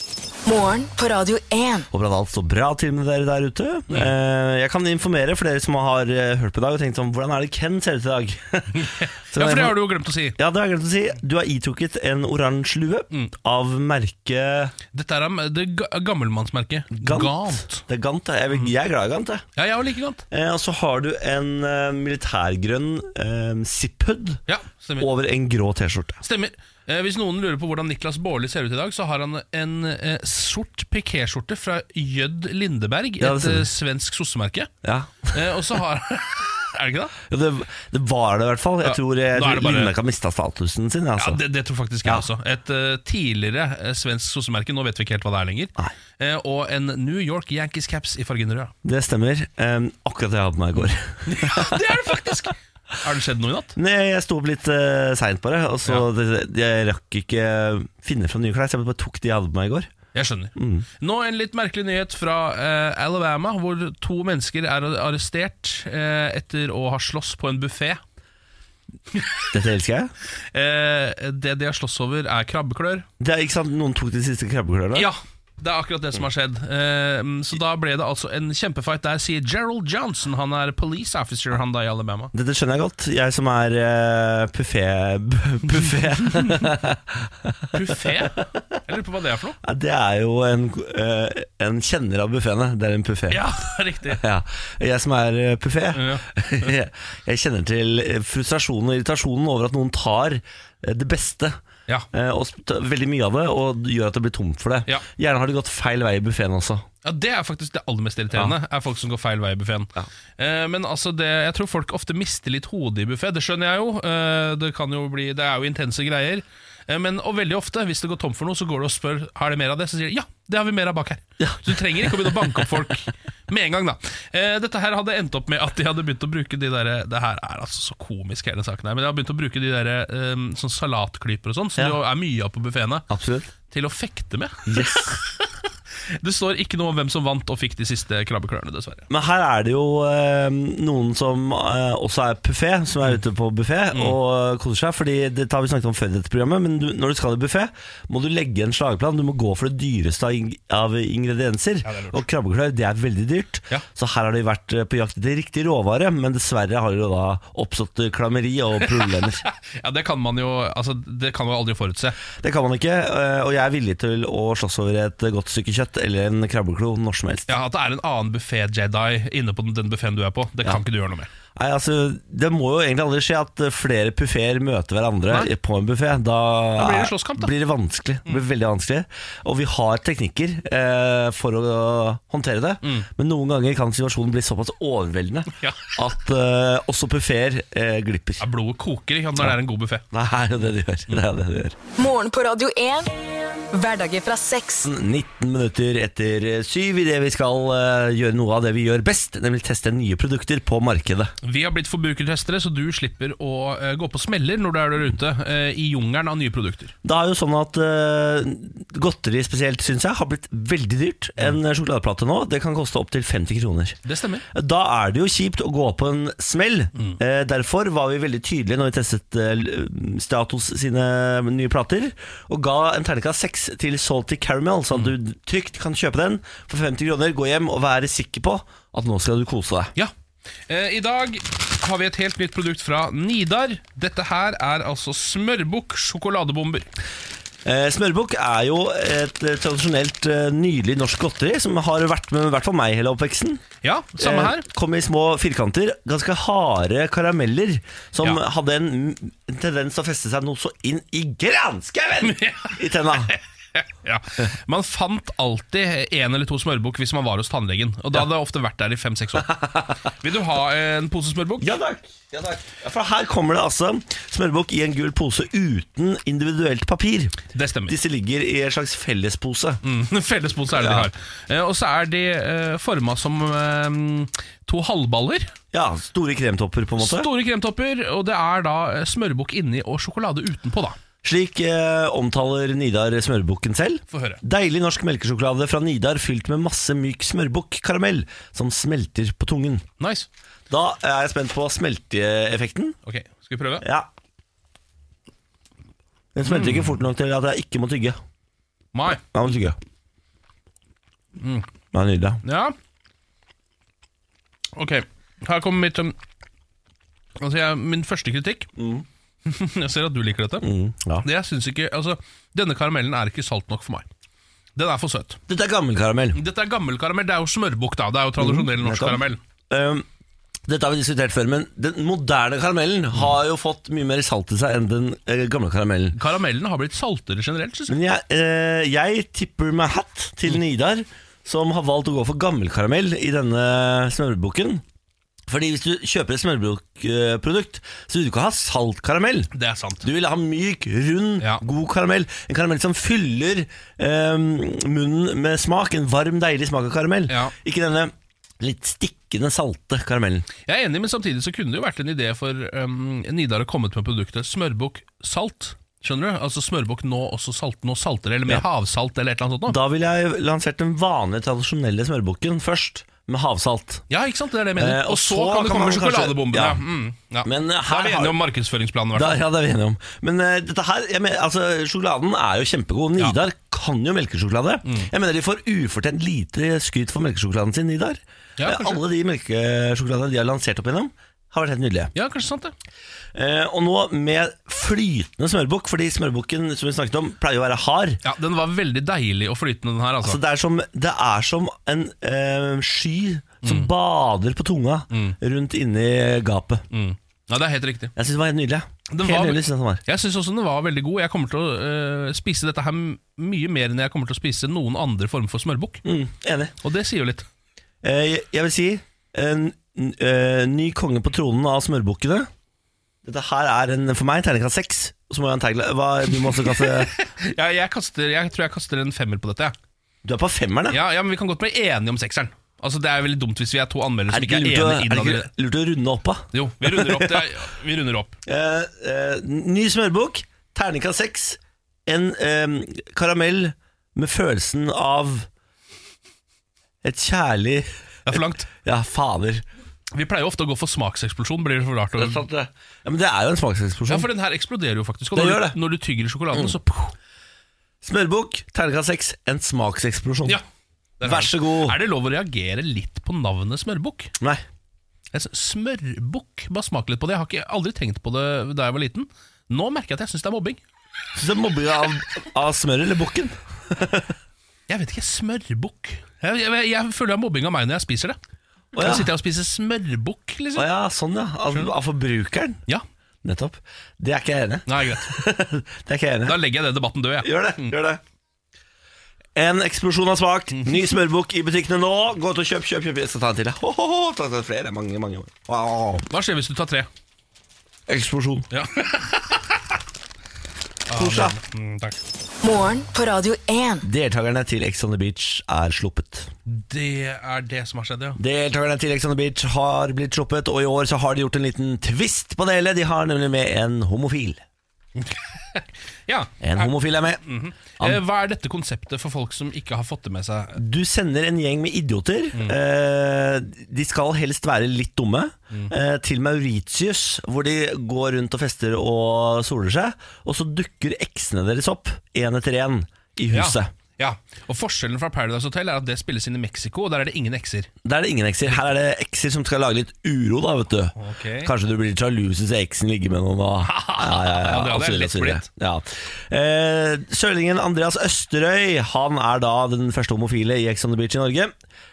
[SPEAKER 4] Morgen på Radio 1.
[SPEAKER 2] Håper at alt står bra til med dere der ute.
[SPEAKER 3] Mm.
[SPEAKER 2] Eh, jeg kan informere for dere som har eh, hørt på i dag og tenkt sånn Hvordan er det Ken ser ut i dag? <laughs>
[SPEAKER 3] Ja, for det har du jo glemt å si.
[SPEAKER 2] Ja, det har jeg glemt å si. Du har itrukket en oransje lue
[SPEAKER 3] Mm.
[SPEAKER 2] av merket
[SPEAKER 3] Dette er am- det ga- gammelmannsmerket.
[SPEAKER 2] Gant. Det er Gant, ja.
[SPEAKER 3] Mm.
[SPEAKER 2] jeg, jeg er glad i Gant, jeg.
[SPEAKER 3] Ja, jeg er like gant.
[SPEAKER 2] Eh, og så har du en eh, militærgrønn eh, zip-hood
[SPEAKER 3] Ja, stemmer.
[SPEAKER 2] over en grå T-skjorte.
[SPEAKER 3] Stemmer. Eh, hvis noen lurer på hvordan Niklas Baarli ser ut i dag, så har han en eh, sort pikéskjorte fra Jødd Lindeberg,
[SPEAKER 2] Ja, det
[SPEAKER 3] et
[SPEAKER 2] stemmer.
[SPEAKER 3] eh, svensk sossemerke.
[SPEAKER 2] Ja.
[SPEAKER 3] Eh, og så har <laughs> Er det ikke det?
[SPEAKER 2] Ja, det, det var det i hvert fall. Jeg
[SPEAKER 3] Ja,
[SPEAKER 2] tror, eh, jeg,
[SPEAKER 3] da er
[SPEAKER 2] tror
[SPEAKER 3] det bare-
[SPEAKER 2] Lindmark har mista statusen sin.
[SPEAKER 3] Ja,
[SPEAKER 2] Altså.
[SPEAKER 3] det, det tror faktisk jeg også. Et eh, tidligere eh, svensk sossemerke, nå vet vi ikke helt hva det er lenger.
[SPEAKER 2] Nei.
[SPEAKER 3] Eh, og en New York Yankees caps i fargen rød. <laughs>
[SPEAKER 2] det, stemmer. Eh, akkurat det jeg hadde på meg i går. <laughs>
[SPEAKER 3] Ja, det er det faktisk! Har det skjedd noe i natt?
[SPEAKER 2] Nei, jeg sto opp litt uh, seint bare, og så det, det- jeg rakk ikke eh, finne fram nye klær, så jeg bare tok de jeg hadde på meg i går.
[SPEAKER 3] Jeg skjønner. Nå en litt merkelig nyhet fra eh, Alabama, hvor to mennesker er arrestert eh, etter å ha slåss på en buffé.
[SPEAKER 2] Dette elsker jeg.
[SPEAKER 3] Eh, det de har slåss over, er krabbeklør.
[SPEAKER 2] Det er ikke sant, Noen tok de siste krabbeklørne?
[SPEAKER 3] Ja, det er akkurat det som har skjedd. Eh, så da ble det altså en kjempefight der, sier Gerald Johnson. Han er police officer, han da i Alabama.
[SPEAKER 2] Dette skjønner jeg godt, jeg som er uh, buffé... <laughs> buffé.
[SPEAKER 3] Buffé? Jeg lurer på hva det er for noe.
[SPEAKER 2] Ja, det er jo en, eh, en kjenner av buffeene. Det er en buffé. <laughs>
[SPEAKER 3] Ja, riktig.
[SPEAKER 2] Ja. Jeg som er eh, buffé,
[SPEAKER 3] Ja.
[SPEAKER 2] <laughs> jeg kjenner til eh, frustrasjonen og irritasjonen over at noen tar eh, det beste.
[SPEAKER 3] Ja.
[SPEAKER 2] eh, Og sp- tar veldig mye av det, og gjør at det blir tomt for det.
[SPEAKER 3] Ja.
[SPEAKER 2] Gjerne har det gått feil vei i buffeen også.
[SPEAKER 3] Ja, Det er faktisk det aller mest irriterende. Er folk som går feil vei i buffeen.
[SPEAKER 2] Ja.
[SPEAKER 3] Eh, men altså det, jeg tror folk ofte mister litt hodet i buffé. Det skjønner jeg jo. Eh, det, kan jo bli, det er jo intense greier. Eh, men, og veldig ofte, hvis det går tomt for noe, så går du og spør Har det mer av det. Så sier de ja, det har vi mer av bak her. Så du trenger ikke å begynne å banke opp folk med en gang. da eh, Dette her hadde endt opp med at de hadde begynt å bruke de der Det her er altså så komisk, hele saken her. Men de har begynt å bruke de der eh, sånn salatklyper og sånn, som
[SPEAKER 2] Ja.
[SPEAKER 3] det jo er mye av på buffeene,
[SPEAKER 2] Absolutt.
[SPEAKER 3] til å fekte med.
[SPEAKER 2] Yes.
[SPEAKER 3] <laughs> Det står ikke noe om hvem som vant og fikk de siste krabbeklørne, dessverre.
[SPEAKER 2] Men her er det jo eh, noen som eh, også er buffé, som er ute på buffé og koser seg. Fordi Dette har vi snakket om før i dette programmet, men du, når du skal i buffé, må du legge en slagplan. Du må gå for det dyreste av, ing av ingredienser. og krabbeklør det er veldig dyrt.
[SPEAKER 3] Ja.
[SPEAKER 2] Så her har de vært eh, på jakt etter riktig råvare, men dessverre har det jo da oppstått eh, klammeri og problemer.
[SPEAKER 3] Ja, Det kan man jo altså, det kan man jo aldri forutse.
[SPEAKER 2] det kan man ikke, eh, og jeg er villig til å slåss over et godt stykke kjøtt eller en krabbeklo når som helst.
[SPEAKER 3] Ja, At det er en annen buffé-Jedi inne på den- den buffeen du er på, det kan ikke du gjøre noe med.
[SPEAKER 2] Nei, altså, Det må jo egentlig aldri skje at eh, flere buffeer møter hverandre
[SPEAKER 3] Nei.
[SPEAKER 2] på en buffé. Da,
[SPEAKER 3] Da blir det slåsskamp, da. Mm.
[SPEAKER 2] blir det vanskelig. Det blir veldig vanskelig Og vi har teknikker eh, for å håndtere det, men noen ganger kan situasjonen bli såpass overveldende
[SPEAKER 3] Mm. Ja.
[SPEAKER 2] at eh, også buffeer eh, glipper.
[SPEAKER 3] Ja, blodet koker ikke sant, når det er en god buffé.
[SPEAKER 2] Nei, det er jo det de gjør. Det er det de gjør.
[SPEAKER 4] Morgen på Radio 1. Hverdager fra seks.
[SPEAKER 2] 19 minutter etter syv idet vi skal eh, gjøre noe av det vi gjør best, nemlig teste nye produkter på markedet.
[SPEAKER 3] Vi har blitt forbrukertestere, så du slipper å eh, gå på smeller når du er der ute eh, i jungelen av nye produkter.
[SPEAKER 2] Det er jo sånn at eh, godteri spesielt, syns jeg, har blitt veldig dyrt. En sjokoladeplate nå, det kan koste opptil 50 kroner.
[SPEAKER 3] Det stemmer.
[SPEAKER 2] Da er det jo kjipt å gå på en smell. Eh, derfor var vi veldig tydelige når vi testet eh, L- Stratos sine nye plater, og ga en terningkast seks til Salty Caramel, så at du trygt kan kjøpe den for 50 kroner, gå hjem og være sikker på at nå skal du kose deg.
[SPEAKER 3] Ja. Eh, I dag har vi et helt nytt produkt fra Nidar. Dette her er altså smørbukk sjokoladebomber.
[SPEAKER 2] Eh, Smørbukk er jo et eh, tradisjonelt eh, nydelig norsk godteri som har vært med i hvert fall meg hele oppveksten.
[SPEAKER 3] Ja, samme her.
[SPEAKER 2] Eh, Kom i små firkanter, ganske harde karameller, som
[SPEAKER 3] Ja.
[SPEAKER 2] hadde en en tendens til å feste seg noe så inn i
[SPEAKER 3] <laughs>
[SPEAKER 2] granskauen i tenna.
[SPEAKER 3] Ja. Man fant alltid en eller to smørbukk hvis man var hos tannlegen. Og da hadde jeg ofte vært der i fem-seks år. Vil du ha en pose smørbukk?
[SPEAKER 2] Ja takk. Ja, takk. Ja, for her kommer det altså smørbukk i en gul pose uten individuelt papir.
[SPEAKER 3] Det stemmer.
[SPEAKER 2] Disse ligger i en slags fellespose.
[SPEAKER 3] Mm, Fellespose er det de har. Eh, og så er de eh, forma som eh, to halvballer.
[SPEAKER 2] Ja, Store kremtopper, på en måte.
[SPEAKER 3] Store kremtopper, og det er da eh, smørbukk inni og sjokolade utenpå, da.
[SPEAKER 2] Slik eh, omtaler Nidar smørbukken selv.
[SPEAKER 3] Få høre.
[SPEAKER 2] Deilig norsk melkesjokolade fra Nidar fylt med masse myk smørbukk-karamell som smelter på tungen.
[SPEAKER 3] Nice.
[SPEAKER 2] Da er jeg spent på smelteeffekten.
[SPEAKER 3] Ok, skal vi prøve?
[SPEAKER 2] Ja. Den smelter ikke fort nok til at jeg ikke må tygge.
[SPEAKER 3] Mai.
[SPEAKER 2] Jeg må tygge. Mm. Det er nydelig.
[SPEAKER 3] Ja. Ok, her kommer mitt um, Altså, jeg, min første kritikk. <laughs> jeg ser at du liker dette.
[SPEAKER 2] Mm, ja.
[SPEAKER 3] Det jeg synes ikke, altså, Denne karamellen er ikke salt nok for meg. Den er for søt.
[SPEAKER 2] Dette er gammel karamell.
[SPEAKER 3] Dette er gammel karamell. Det er jo smørbukk, da. Det er jo tradisjonell norsk
[SPEAKER 2] Mm, nettopp.
[SPEAKER 3] karamell.
[SPEAKER 2] Um, dette har vi diskutert før, men den moderne karamellen har jo fått mye mer salt i seg enn den eh, gamle karamellen.
[SPEAKER 3] Karamellen har blitt saltere generelt, synes jeg.
[SPEAKER 2] Men jeg, eh, jeg tipper meg hatt til
[SPEAKER 3] Mm.
[SPEAKER 2] Nidar, som har valgt å gå for gammelkaramell i denne smørbukken. Fordi hvis du kjøper et smørbukkprodukt, så vil du ikke ha saltkaramell.
[SPEAKER 3] Det er sant.
[SPEAKER 2] Du vil ha myk, rund,
[SPEAKER 3] Ja.
[SPEAKER 2] god karamell. En karamell som fyller eh, munnen med smak. En varm, deilig smak av karamell.
[SPEAKER 3] Ja.
[SPEAKER 2] Ikke denne litt stikkende, salte karamellen.
[SPEAKER 3] Jeg er enig, men samtidig så kunne det jo vært en idé for um, Nidar å kommet med produktet smørbukk salt. Skjønner du? Altså smørbukk nå også salt, nå saltere, eller med havsalt, eller et eller annet sånt. Nå.
[SPEAKER 2] Da ville jeg lansert den vanlige, tradisjonelle smørbukken først, med havsalt.
[SPEAKER 3] Ja, ikke sant? Det er det jeg mener.
[SPEAKER 2] Eh, og
[SPEAKER 3] og så
[SPEAKER 2] så
[SPEAKER 3] kan
[SPEAKER 2] kan
[SPEAKER 3] det komme
[SPEAKER 2] man
[SPEAKER 3] med
[SPEAKER 2] kanskje- Ja.
[SPEAKER 3] sjokoladebombene. Ja. Mm, ja.
[SPEAKER 2] Men, eh,
[SPEAKER 3] da
[SPEAKER 2] her
[SPEAKER 3] er vi
[SPEAKER 2] har-
[SPEAKER 3] enige om markedsføringsplanen, i hvert
[SPEAKER 2] Da,
[SPEAKER 3] fall.
[SPEAKER 2] ja, det er vi enige om. Men eh, dette her, jeg mener, altså, sjokoladen er jo kjempegod. Nidar kan jo melkesjokolade.
[SPEAKER 3] Mm.
[SPEAKER 2] Jeg mener de får ufortjent lite skryt for melkesjokoladen sin, Nidar.
[SPEAKER 3] Ja,
[SPEAKER 2] Eh,
[SPEAKER 3] kanskje.
[SPEAKER 2] Alle de melkesjokoladene de har lansert opp igjennom, har vært helt nydelige.
[SPEAKER 3] Ja, kanskje sant det.
[SPEAKER 2] Eh, og nå med flytende smørbukk, fordi smørbukken som vi snakket om, pleier å være hard.
[SPEAKER 3] Ja, Den var veldig deilig og flytende, den her. altså.
[SPEAKER 2] Så det, er som, det er som en eh, sky
[SPEAKER 3] Mm.
[SPEAKER 2] som bader på tunga rundt inni gapet.
[SPEAKER 3] Ja, Det er helt riktig.
[SPEAKER 2] Jeg syns den var helt nydelig.
[SPEAKER 3] Den
[SPEAKER 2] helt
[SPEAKER 3] Mm. var-
[SPEAKER 2] nydelig synes jeg den var.
[SPEAKER 3] Jeg syns også den var veldig god. Jeg kommer til å øh, spise dette her m- mye mer enn jeg kommer til å spise noen andre form for smørbukk.
[SPEAKER 2] Mm, enig.
[SPEAKER 3] Og det sier jo litt.
[SPEAKER 2] Eh, jeg- jeg vil si en eh, ny konge på tronen av smørbukkene. Dette her er en, for meg en terningkast seks. Og så må jeg ha en tagline. Hva, du må også kaste
[SPEAKER 3] <laughs> Jeg, jeg, kaster, jeg tror jeg kaster en femmer på dette. jeg.
[SPEAKER 2] Du er på femmeren,
[SPEAKER 3] Ja, ja, men vi kan godt bli enige om sekseren. Altså, Det er veldig dumt hvis vi er to anmeldere
[SPEAKER 2] Er
[SPEAKER 3] som
[SPEAKER 2] det
[SPEAKER 3] ikke
[SPEAKER 2] ikke
[SPEAKER 3] er
[SPEAKER 2] lurt å, er
[SPEAKER 3] enige
[SPEAKER 2] det
[SPEAKER 3] innad i det.
[SPEAKER 2] ikke lurt å runde opp, da?
[SPEAKER 3] Jo, vi runder opp. Det er, vi runder opp.
[SPEAKER 2] Eh, eh, ny smørbukk, terningkast seks. En eh, karamell med følelsen av Et kjærlig
[SPEAKER 3] Det er for langt.
[SPEAKER 2] Ja, fader.
[SPEAKER 3] Vi pleier jo ofte å gå for smakseksplosjon. Blir det for rart å...
[SPEAKER 2] Ja, men det er jo en
[SPEAKER 3] Ja,
[SPEAKER 2] smakseksplosjon.
[SPEAKER 3] for den her eksploderer jo faktisk. Og
[SPEAKER 2] Det
[SPEAKER 3] når,
[SPEAKER 2] gjør
[SPEAKER 3] du-
[SPEAKER 2] det.
[SPEAKER 3] når du tygger i sjokoladen, så poff,
[SPEAKER 2] Smørbukk, terningkast seks. En smakseksplosjon.
[SPEAKER 3] ja. Der har
[SPEAKER 2] Vær
[SPEAKER 3] du
[SPEAKER 2] så
[SPEAKER 3] den.
[SPEAKER 2] god.
[SPEAKER 3] Er det lov å reagere litt på navnet smørbukk?
[SPEAKER 2] Nei.
[SPEAKER 3] Jeg synes- Smørbukk, bare smak litt på det. Jeg har ikke, aldri tenkt på det da jeg var liten. Nå merker jeg at jeg syns det er mobbing.
[SPEAKER 2] Syns du det er mobbing av, av smør eller bukken?
[SPEAKER 3] Jeg vet ikke, smørbukk jeg, jeg, jeg føler det er mobbing av meg når jeg spiser det.
[SPEAKER 2] Å ja.
[SPEAKER 3] Da sitter jeg og spiser smørbukk,
[SPEAKER 2] Å
[SPEAKER 3] liksom.
[SPEAKER 2] ja, sånn ja. Av, av forbrukeren.
[SPEAKER 3] Ja,
[SPEAKER 2] Nettopp. Det er ikke jeg <laughs> enig i.
[SPEAKER 3] nei, greit.
[SPEAKER 2] Det er ikke jeg enig i.
[SPEAKER 3] Da legger jeg den debatten død, jeg.
[SPEAKER 2] Gjør det, gjør det En eksplosjon av smak Ny smørbok i butikkene nå Gå til og kjøp, kjøp, kjøp Jeg skal ta en til jeg. Ho, ho, ho. Ta, ta flere, mange, mange wow.
[SPEAKER 3] Hva skjer hvis du tar tre?
[SPEAKER 2] Eksplosjon
[SPEAKER 3] Ja.
[SPEAKER 2] Tosja
[SPEAKER 3] <laughs> Mm, takk.
[SPEAKER 4] Morgen på Radio 1.
[SPEAKER 2] Deltakerne til Ex on the Beach er sluppet
[SPEAKER 3] Det er det som har skjedd, ja. <laughs>
[SPEAKER 2] Deltakerne til Ex on the Beach har blitt sluppet Og i år så har de gjort en liten twist på det hele De har nemlig med en homofil
[SPEAKER 3] ja.
[SPEAKER 2] En homofil er med
[SPEAKER 3] Eh, Hva er dette konseptet for folk som ikke har fått det med seg?
[SPEAKER 2] Du sender en gjeng med idioter. Eh, de skal helst være litt dumme. Eh, til Mauritius, hvor de går rundt og fester og soler seg. Og så dukker eksene deres opp, én etter én, i huset.
[SPEAKER 3] Ja. ja, og Forskjellen fra Paradise Hotel er at det spilles inn i Mexico, og der er det ingen ekser.
[SPEAKER 2] Der er det ingen ekser. Her er det ekser som skal lage litt uro, da, vet du.
[SPEAKER 3] Ok.
[SPEAKER 2] Kanskje du blir sjalu hvis eksen ligger med
[SPEAKER 3] <laughs>
[SPEAKER 2] noen og Ja, ja, ja.
[SPEAKER 3] Ja, det hadde jeg
[SPEAKER 2] og så videre,
[SPEAKER 3] lett
[SPEAKER 2] og så videre.
[SPEAKER 3] blitt.
[SPEAKER 2] Ja. Eh, Sørlingen Andreas Østerøy Han er da den første homofile i Ex on the Beach i Norge.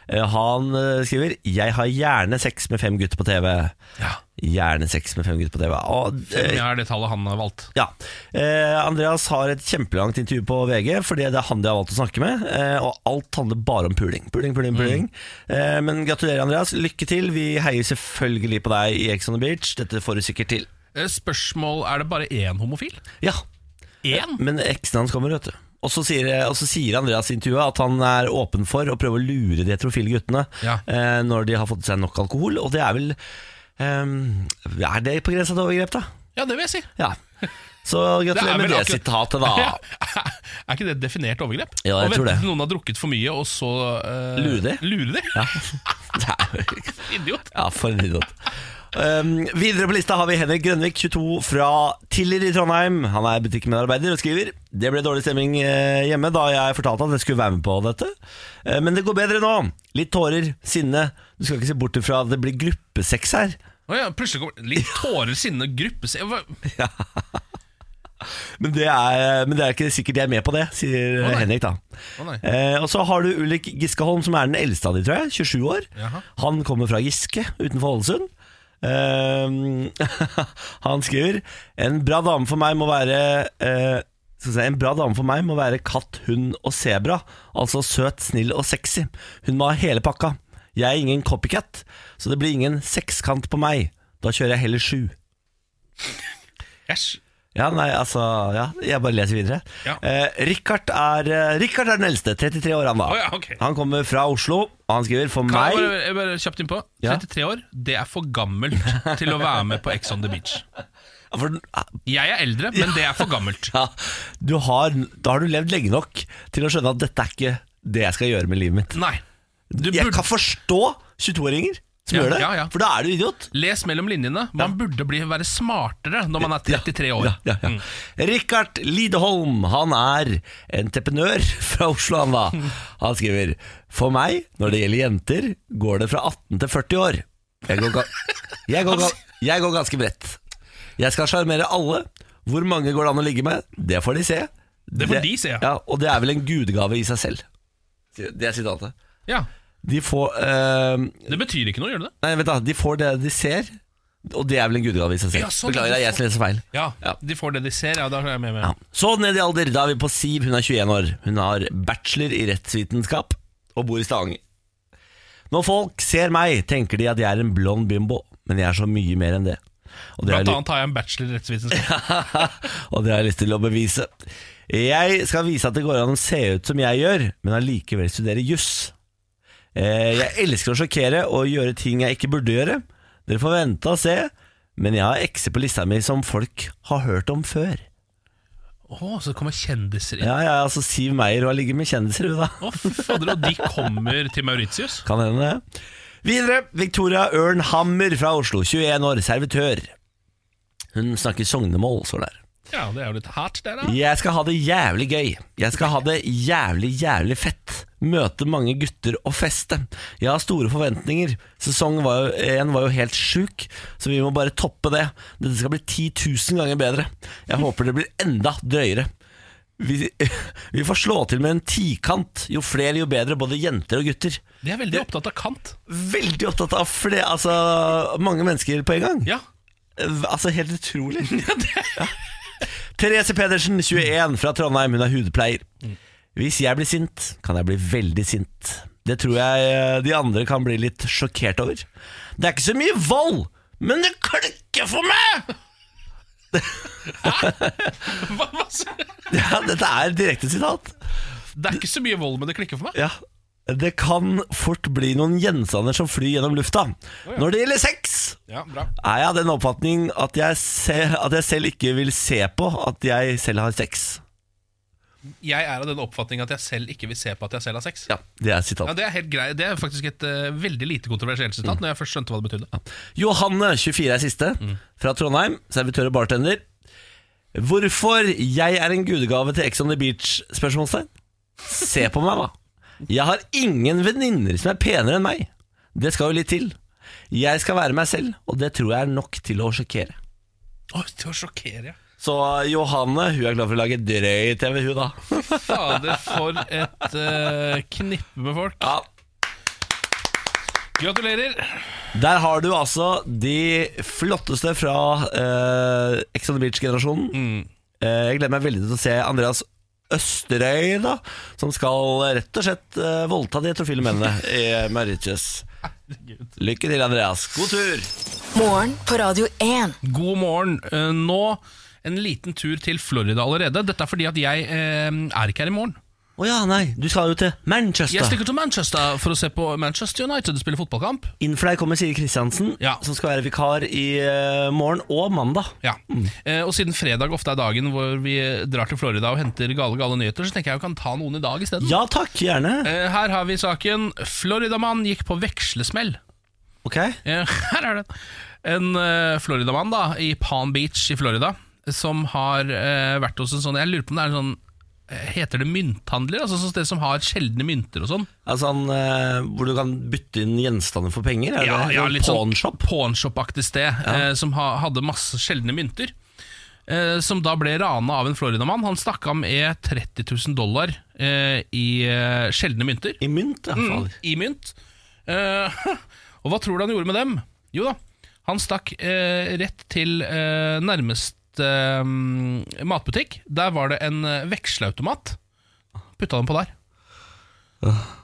[SPEAKER 2] Eh, han eh, skriver 'Jeg har gjerne sex med fem gutter på TV'.
[SPEAKER 3] Ja.
[SPEAKER 2] Gjerne sex med fem gutter på TV. Og, eh,
[SPEAKER 3] Det er det tallet han har valgt.
[SPEAKER 2] ja. Eh, Andreas har et kjempelangt intervju på VG, fordi det er han de har valgt å snakke med. Eh, og alt handler bare om puling. Puling, puling, puling.
[SPEAKER 3] Mm.
[SPEAKER 2] Eh, men gratulerer, Andreas. Lykke til. Vi heier selvfølgelig på deg i Ex on the Beach. Dette får du sikkert til.
[SPEAKER 3] Eh, Spørsmål er det bare én homofil?
[SPEAKER 2] Ja,
[SPEAKER 3] Én?
[SPEAKER 2] men eksen hans kommer, vet du. Og så sier, og så sier Andreas i intervjuet at han er åpen for å prøve å lure de heterofile guttene
[SPEAKER 3] Ja.
[SPEAKER 2] eh, når de har fått i seg nok alkohol. Og det er vel eh, Er det på grensa til overgrep, da?
[SPEAKER 3] Ja, det vil jeg si.
[SPEAKER 2] Ja. Så
[SPEAKER 3] <laughs>
[SPEAKER 2] gratulerer med
[SPEAKER 3] vel
[SPEAKER 2] det
[SPEAKER 3] akkurat-
[SPEAKER 2] sitatet, da.
[SPEAKER 3] <laughs> Ja. Er ikke det et definert overgrep?
[SPEAKER 2] Ja, jeg
[SPEAKER 3] Å
[SPEAKER 2] tror
[SPEAKER 3] vente
[SPEAKER 2] det.
[SPEAKER 3] til noen har drukket for mye, og så eh,
[SPEAKER 2] Lure de.
[SPEAKER 3] Lure de?
[SPEAKER 2] Ja. <laughs> Det er jo ikke-
[SPEAKER 3] Idiot.
[SPEAKER 2] Ja, for en idiot. Um, videre på lista har vi Henrik Grønvik, 22, fra Tiller i Trondheim. Han er butikkmedarbeider og skriver Det ble dårlig stemning eh, hjemme da jeg fortalte at jeg skulle være med på dette. Eh, men det går bedre nå. Litt tårer, sinne. Du skal ikke se bort ifra at det blir gruppesex her.
[SPEAKER 3] Å ja, plutselig kommer litt tårer, sinne, gruppe se- hva-
[SPEAKER 2] Men det er, men det er ikke sikkert jeg er med på det, sier
[SPEAKER 3] nei.
[SPEAKER 2] Henrik da.
[SPEAKER 3] Å nei.
[SPEAKER 2] Eh, og så har du Ulrik Giskeholm, som er den eldste av de, tror jeg. 27 år.
[SPEAKER 3] Jaha.
[SPEAKER 2] Han kommer fra Giske utenfor Ålesund. Eh, <laughs> han skriver En bra dame for meg må være eh, skal vi se, En bra dame for meg må være katt, hund og sebra. Altså søt, snill og sexy. Hun må ha hele pakka. Jeg er ingen copycat, så det blir ingen sekskant på meg. Da kjører jeg heller sju.
[SPEAKER 3] Æsj.
[SPEAKER 2] Ja, nei, altså ja, Jeg bare leser videre.
[SPEAKER 3] Ja.
[SPEAKER 2] Eh, Richard, er, eh, Richard er den eldste. 33 år, han da.
[SPEAKER 3] Å ja, ok.
[SPEAKER 2] Han kommer fra Oslo, og han skriver for
[SPEAKER 3] Kan jeg
[SPEAKER 2] meg
[SPEAKER 3] bare, jeg bare kjapt innpå?
[SPEAKER 2] Ja.
[SPEAKER 3] 33 år, det er for gammelt til å være med på Ex on the Beach.
[SPEAKER 2] for,
[SPEAKER 3] Jeg er eldre, men det er for gammelt.
[SPEAKER 2] ja, du har, Da har du levd lenge nok til å skjønne at dette er ikke det jeg skal gjøre med livet mitt.
[SPEAKER 3] Nei. Du
[SPEAKER 2] Jeg
[SPEAKER 3] burde
[SPEAKER 2] kan forstå 22-åringer som
[SPEAKER 3] Ja,
[SPEAKER 2] gjør det,
[SPEAKER 3] ja, ja.
[SPEAKER 2] for da er du idiot.
[SPEAKER 3] Les mellom linjene. Man burde bli, være smartere når man er 33 år.
[SPEAKER 2] Ja, ja, ja.
[SPEAKER 3] Mm.
[SPEAKER 2] Richard Lideholm, han er entreprenør fra Oslo, han da. Han skriver For meg, når det gjelder jenter, går det fra 18 til 40 år. Jeg går, ga jeg går, ga jeg går ganske bredt. Jeg skal sjarmere alle. Hvor mange går det an å ligge med? Det får de se.
[SPEAKER 3] Det får de se, ja.
[SPEAKER 2] ja. Og det er vel en gudegave i seg selv. Det er sitatet.
[SPEAKER 3] Ja.
[SPEAKER 2] De får eh,
[SPEAKER 3] Det betyr ikke noe, gjør det det?
[SPEAKER 2] Nei, vent da. De får det de ser, og det er vel en gudegave i seg selv.
[SPEAKER 3] Ja, sånn,
[SPEAKER 2] Beklager, det er jeg som leser feil.
[SPEAKER 3] Ja,
[SPEAKER 2] Ja.
[SPEAKER 3] De får det de ser, ja. Da er jeg med. med.
[SPEAKER 2] Ja. Så ned i alder, da er vi på Siv, hun er 21 år Hun har bachelor i rettsvitenskap Og bor i Stavanger Når folk ser meg, tenker de at jeg er en blond bimbo Men jeg er så mye mer enn det Og det har
[SPEAKER 3] Blant
[SPEAKER 2] jeg,
[SPEAKER 3] annet har jeg en bachelor i rettsvitenskap.
[SPEAKER 2] ly- <laughs> og det har jeg lyst til å bevise Jeg skal vise at det går an å se ut som jeg gjør Men allikevel studere juss eh, Jeg elsker å sjokkere Og gjøre ting jeg ikke burde gjøre Dere får vente og se Men jeg har ekser på lista mi som folk har hørt om før
[SPEAKER 3] Å, så kommer kjendiser inn. Å,
[SPEAKER 2] Ja, ja, altså Siv Meyer, hun har ligget med kjendiser, hun da.
[SPEAKER 3] fy fader, og de kommer til Mauritius.
[SPEAKER 2] Kan hende det. Videre, Victoria Ørnhammer fra Oslo, 21 år, servitør. Hun snakker sognemål, står der.
[SPEAKER 3] Ja, det er jo litt hardt, det, da.
[SPEAKER 2] Jeg skal ha det jævlig gøy. Jeg skal ha det jævlig, jævlig fett. Møte mange gutter og feste. Jeg har store forventninger. Sesong var jo, en var jo helt sjuk, så vi må bare toppe det. Dette skal bli 10 000 ganger bedre. Jeg håper det blir enda drøyere. Vi, <laughs> vi får slå til med en tikant. Jo flere, jo bedre, både jenter og gutter.
[SPEAKER 3] De er veldig opptatt av kant.
[SPEAKER 2] Veldig opptatt av flere, altså, mange mennesker på en gang.
[SPEAKER 3] Ja, <laughs>
[SPEAKER 2] Altså, helt utrolig. <laughs> Ja. Therese Pedersen, 21, fra Trondheim. Hun er hudpleier. Hvis jeg blir sint, kan jeg bli veldig sint. Det tror jeg eh, de andre kan bli litt sjokkert over. Det er ikke så mye vold, men det klikker for meg! <laughs>
[SPEAKER 3] hva, hva, s-
[SPEAKER 2] Ja, dette er et direkte sitat.
[SPEAKER 3] Det er ikke så mye vold, men det klikker for meg.
[SPEAKER 2] Ja. Det kan fort bli noen gjenstander som flyr gjennom lufta. Når det gjelder sex,
[SPEAKER 3] Ja, bra.
[SPEAKER 2] er jeg av den oppfatning at jeg, ser, at jeg selv ikke vil se på at jeg selv har sex.
[SPEAKER 3] Jeg er av den oppfatning at jeg selv ikke vil se på at jeg selv har sex.
[SPEAKER 2] Ja, Det er sitat.
[SPEAKER 3] Ja, Det er helt grei. Det er faktisk et eh, veldig lite kontroversielt
[SPEAKER 2] Mm.
[SPEAKER 3] sitat, når jeg først skjønte hva det betydde.
[SPEAKER 2] Johanne, 24 er siste, fra Trondheim, servitør og bartender. Hvorfor jeg er en gudegave til Ex on the Beach? Spørsmålstegn. Se på meg, da. Jeg har ingen venninner som er penere enn meg. Det skal jo litt til. Jeg skal være meg selv, og det tror jeg er nok til å sjokkere.
[SPEAKER 3] Oi, det var sjokkerende.
[SPEAKER 2] Så Johanne, hun er glad for å lage drøy-TV, hun da.
[SPEAKER 3] Fader, for et eh, knippe med folk.
[SPEAKER 2] Ja,
[SPEAKER 3] Gratulerer.
[SPEAKER 2] Der har du altså de flotteste fra eh, Ex on the Beach-generasjonen.
[SPEAKER 3] Mm.
[SPEAKER 2] Eh, jeg gleder meg veldig til å se Andreas Østerøy, da, som skal rett og slett eh, voldta de heterofile mennene i eh, Mauritius. Lykke til, Andreas. God tur!
[SPEAKER 4] Morgen på Radio 1.
[SPEAKER 3] God morgen. Eh, nå en liten tur til Florida allerede. Dette er fordi at jeg eh, er ikke her i morgen.
[SPEAKER 2] Å ja, nei, du skal jo til
[SPEAKER 3] Jeg
[SPEAKER 2] Manchester.
[SPEAKER 3] stikker til Manchester for å se på Manchester United spille fotballkamp.
[SPEAKER 2] Innfly kommer Siri Kristiansen,
[SPEAKER 3] Ja.
[SPEAKER 2] som skal være vikar i eh, morgen og mandag.
[SPEAKER 3] Ja. Eh, og siden fredag ofte er dagen hvor vi drar til Florida og henter gale, gale nyheter, så tenker jeg jeg kan ta noen i dag isteden.
[SPEAKER 2] Ja takk, gjerne.
[SPEAKER 3] Eh, her har vi saken. Floridamann gikk på vekslesmell.
[SPEAKER 2] Ok.
[SPEAKER 3] Eh, <laughs> her er den. En eh, Floridamann da, i Palm Beach i Florida, som har eh, vært hos en sånn Jeg lurer på om det er en sånn eh, Heter det mynthandler? Altså sånn sted som har sjeldne mynter og sånn?
[SPEAKER 2] Altså han, eh, Hvor du kan bytte inn gjenstander for penger? Er det pawnshop?
[SPEAKER 3] sånn pawnshop-aktig sted, eh, som ha, hadde masse sjeldne mynter. Eh, som da ble rana av en Floridamann. Han stakk av med 30 000 dollar eh, i eh, sjeldne mynter.
[SPEAKER 2] I mynt, ja.
[SPEAKER 3] Mm,
[SPEAKER 2] fader.
[SPEAKER 3] I mynt. Eh, <laughs> og hva tror du han gjorde med dem? Jo da, han stakk eh, rett til eh, nærmest eh, matbutikk. Der var det en eh, veksleautomat. Putta dem på der.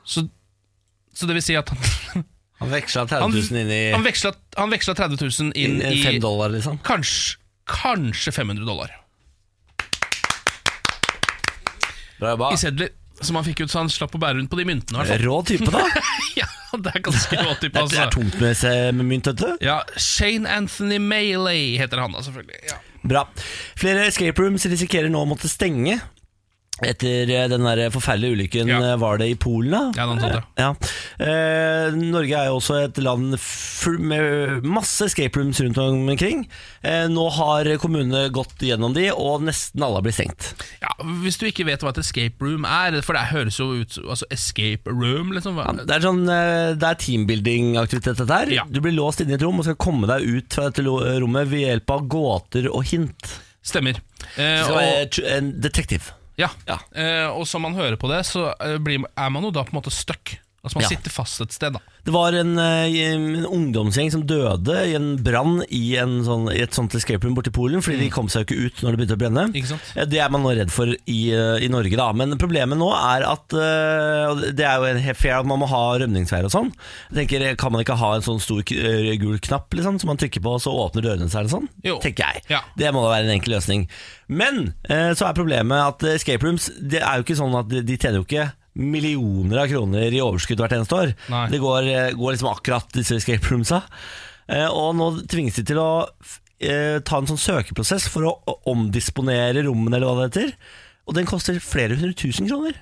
[SPEAKER 3] Så, så det vil si at han, <laughs>
[SPEAKER 2] Han veksla 30
[SPEAKER 3] han,
[SPEAKER 2] 000 inn i
[SPEAKER 3] han, veksla, han veksla 30 000 inn,
[SPEAKER 2] inn i
[SPEAKER 3] i
[SPEAKER 2] fem dollar, liksom.
[SPEAKER 3] kanskje, kanskje 500 dollar
[SPEAKER 2] Bra jobba.
[SPEAKER 3] i sedler. Som han fikk ut, så han slapp å bære rundt på de myntene. i hvert fall.
[SPEAKER 2] Rå type,
[SPEAKER 3] <laughs>
[SPEAKER 2] da.
[SPEAKER 3] Ja, det er ganske råtype,
[SPEAKER 2] Det er
[SPEAKER 3] altså.
[SPEAKER 2] tungt med, se- med mynt, vet du.
[SPEAKER 3] Ja, Shane Anthony Maley heter han da, selvfølgelig. Ja.
[SPEAKER 2] Bra. Flere escape rooms risikerer nå å måtte stenge. Etter eh, den der forferdelige ulykken
[SPEAKER 3] Ja.
[SPEAKER 2] eh, var det i Polen, da.
[SPEAKER 3] Ja, noe sånt, ja.
[SPEAKER 2] Ja. Eh, Norge er jo også et land full med masse escape rooms rundt omkring. Eh, nå har kommunene gått gjennom de, og nesten alle har blitt stengt.
[SPEAKER 3] Ja, Hvis du ikke vet hva et escape room er, for det høres jo ut som- altså escape room liksom. hva-
[SPEAKER 2] Det er, sånn, eh, det er teambuilding-aktivitet dette her.
[SPEAKER 3] Ja.
[SPEAKER 2] Du blir låst inne i et rom og skal komme deg ut fra dette lo- rommet ved hjelp av gåter og hint.
[SPEAKER 3] Stemmer. Eh,
[SPEAKER 2] Du skal
[SPEAKER 3] og,
[SPEAKER 2] være tr- en detektiv.
[SPEAKER 3] ja.
[SPEAKER 2] Ja.
[SPEAKER 3] Eh, og som man hører på det, så eh, blir, er man jo da på en måte stuck. Altså Man
[SPEAKER 2] Ja.
[SPEAKER 3] sitter fast et sted, da.
[SPEAKER 2] Det var en, eh, en ungdomsgjeng som døde i en brann i, en sånn, i et sånt escape room borti Polen, fordi de kom seg jo ikke ut når det begynte å brenne.
[SPEAKER 3] Mm. Ikke sant?
[SPEAKER 2] Eh, Det er man nå redd for i, eh, i Norge, da. Men problemet nå er at eh, og Det er jo en helt fair at man må ha rømningsveier og sånn. Jeg tenker, eh, Kan man ikke ha en sånn stor k- eh, gul knapp liksom, som man trykker på, og så åpner dørene seg? eller sånn?
[SPEAKER 3] Jo.
[SPEAKER 2] Tenker jeg.
[SPEAKER 3] Ja.
[SPEAKER 2] Det må da være en enkel løsning. Men eh, så er problemet at eh, escape rooms Det er jo ikke sånn at de, de tjener jo ikke millioner av kroner i overskudd hvert eneste år.
[SPEAKER 3] Nei.
[SPEAKER 2] Det går, eh, går liksom akkurat disse escape roomsa. Eh, og nå tvinges de til å f- eh, ta en sånn søkeprosess for å å omdisponere rommene, eller hva det heter. Og den koster flere hundre tusen kroner.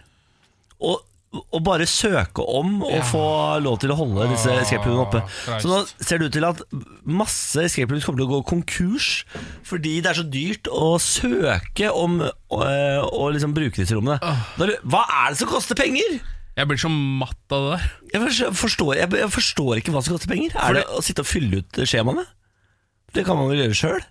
[SPEAKER 2] Og, og bare søke om å få lov til å holde disse escape roomene oppe.
[SPEAKER 3] Christ.
[SPEAKER 2] Så nå ser det ut til at masse escape rooms kommer til å gå konkurs fordi det er så dyrt å søke om øh, å liksom bruke disse rommene. Da lu- Hva er det som koster penger?!
[SPEAKER 3] Jeg blir så matt av det der.
[SPEAKER 2] Jeg forstår- forstår, jeg, jeg forstår ikke hva som koster penger. Er det, å sitte og fylle ut skjemaene? Det kan man vel gjøre sjøl?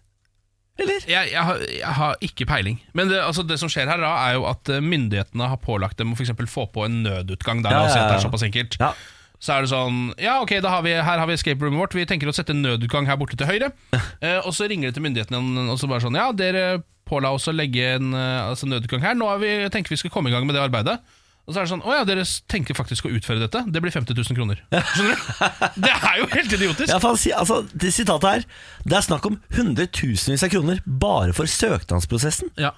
[SPEAKER 2] Eller?
[SPEAKER 3] Jeg, jeg, har, jeg har ikke peiling. Men det, altså, det som skjer her, da er jo at eh, myndighetene har pålagt dem å for eksempel få på en nødutgang. Der,
[SPEAKER 2] Ja,
[SPEAKER 3] la oss si
[SPEAKER 2] ja,
[SPEAKER 3] at det er
[SPEAKER 2] ja.
[SPEAKER 3] såpass enkelt.
[SPEAKER 2] Ja.
[SPEAKER 3] Så er det sånn Ja, ok, da har vi, her har vi escape roomet vårt. Vi tenker å sette en nødutgang her borte til <laughs> høyre. Eh, og så ringer det til myndighetene, og så bare sånn Ja, dere påla oss å legge en eh, altså, nødutgang her. Nå har vi, tenker vi skal komme i gang med det arbeidet. Og så er det sånn Å ja, dere tenker faktisk å utføre dette? Det blir 50 000 <laughs> kroner. Skjønner du? Det er jo helt idiotisk!
[SPEAKER 2] Ja, for han sier- altså, det sitatet her Det er snakk om hundretusenvis av kroner bare for søknadsprosessen.
[SPEAKER 3] Ja.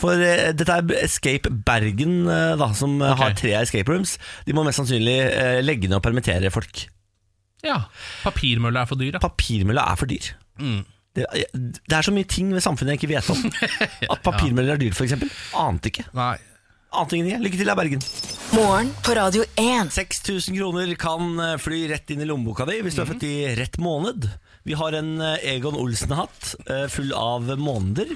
[SPEAKER 2] For eh, dette er Escape Bergen, eh, da, som eh, har tre escape rooms. De må mest sannsynlig eh, legge ned og permittere folk.
[SPEAKER 3] ja. Papirmølla er for dyr, ja.
[SPEAKER 2] Papirmølla er for dyr. Det, eh, det er så mye ting ved samfunnet jeg ikke vet om. At papirmøller er dyrt, f.eks. Ante ikke.
[SPEAKER 3] Nei.
[SPEAKER 2] Ante ingenting. Lykke til, det er Bergen.
[SPEAKER 4] Morgen på Radio 1.
[SPEAKER 2] 6000 kroner kan eh, fly rett inn i lommeboka di hvis du er født i rett måned. Vi har en eh, Egon Olsen-hatt eh, full av måneder.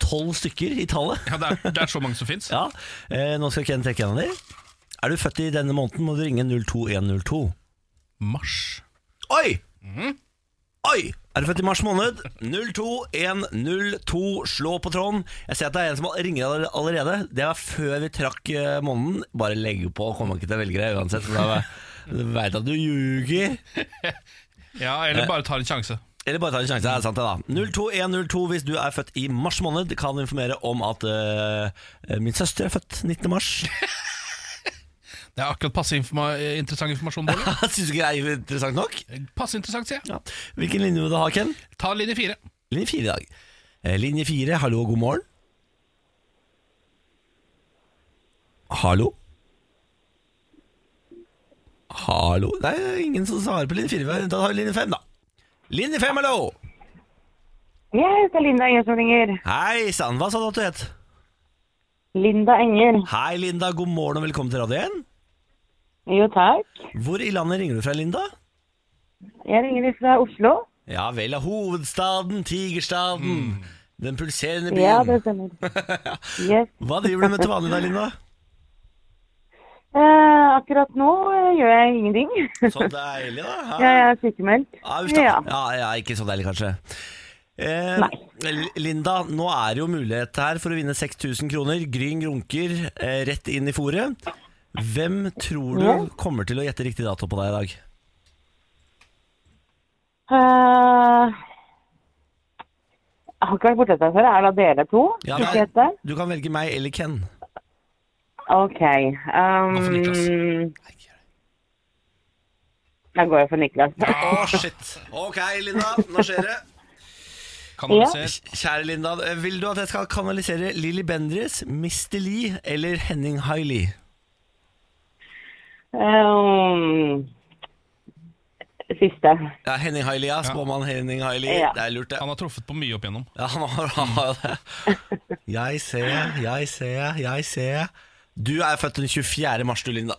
[SPEAKER 2] Tolv stykker i tallet.
[SPEAKER 3] Ja, det er, det er så mange som fins.
[SPEAKER 2] Ja, eh, Nå skal Ken trekke en av de. Er du født i denne måneden, må du ringe 02102.
[SPEAKER 3] Mars.
[SPEAKER 2] Oi! Oi! Er du født i mars måned? 02102, slå på tråden. Jeg ser at det er en som ringer all- allerede. Det var før vi trakk eh, måneden. Bare legg på, kommer ikke til å velge deg uansett. For da <laughs> du veit at du ljuger.
[SPEAKER 3] Ja, eller bare tar en sjanse.
[SPEAKER 2] Eller bare ta en sjanse, er sant det da 02102 hvis du er født i mars måned Kan informere om at øh, Min søster er født 19. mars <laughs>
[SPEAKER 3] Det er akkurat passe informa eh, interessant informasjon. Bård.
[SPEAKER 2] Synes du ikke det er interessant nok?
[SPEAKER 3] Passe interessant, sier jeg.
[SPEAKER 2] Ja. Hvilken linje vil du ha, Ken?
[SPEAKER 3] Ta linje fire.
[SPEAKER 2] Linje 4 i dag Eh, Linje 4, hallo og god morgen Hallo? Hallo? Nei, det er ingen som svarer på linje 4 Da tar vi linje 5 da Linje 5, hallo
[SPEAKER 6] Jeg heter Linda Enger som ringer.
[SPEAKER 2] Hei, sann, hva sa du at du het?
[SPEAKER 6] Linda Enger.
[SPEAKER 2] Hei Linda, god morgen og velkommen til Radio 1
[SPEAKER 6] Jo, takk.
[SPEAKER 2] Hvor i landet ringer du fra, Linda?
[SPEAKER 6] Jeg ringer fra Oslo.
[SPEAKER 2] Ja vel, av hovedstaden, tigerstaden, den pulserende byen.
[SPEAKER 6] <laughs> Ja, det stemmer. Yes.
[SPEAKER 2] Hva driver du med til vanlig da, Linda?
[SPEAKER 6] <laughs> Eh, akkurat nå eh, gjør jeg ingenting. <laughs>
[SPEAKER 2] Så deilig, da. Ja,
[SPEAKER 6] Jeg er sykemeldt.
[SPEAKER 2] Ja, uff da.
[SPEAKER 6] Sånn. ja.
[SPEAKER 2] ja, ja, ikke så deilig, kanskje. Eh,
[SPEAKER 6] Nei.
[SPEAKER 2] L- Linda, nå er det jo mulighet her for å vinne 6000 kroner. Gryn grunker eh, rett inn i fòret. Hvem tror
[SPEAKER 6] Ja.
[SPEAKER 2] du kommer til å gjette riktig dato på deg i dag?
[SPEAKER 6] Eh, jeg har ikke vært borti dette før. Er det dere to?
[SPEAKER 2] Ja,
[SPEAKER 6] Skal
[SPEAKER 2] nei.
[SPEAKER 6] jeg hete?
[SPEAKER 2] Du kan velge meg eller Ken.
[SPEAKER 6] Ok.
[SPEAKER 3] Gå for Niklas.
[SPEAKER 6] Um, da går jeg for Niklas.
[SPEAKER 2] Å, shit. Ok, Linda, nå skjer det.
[SPEAKER 3] Kanaliser.
[SPEAKER 2] Eh, Kjære Linda, eh, vil du at jeg skal kanalisere Lilly Bendriss, Mr. Lee eller Henning Hailey?
[SPEAKER 6] Um, siste.
[SPEAKER 2] Ja, Henning Hailey, ja. Spåmann Henning Hailey.
[SPEAKER 6] Ja.
[SPEAKER 2] Det er lurt, det.
[SPEAKER 3] Han har truffet på mye opp igjennom.
[SPEAKER 2] Ja, han har, han har det. Jeg ser, jeg ser, jeg ser. Du er født den 24. mars, du, Linda.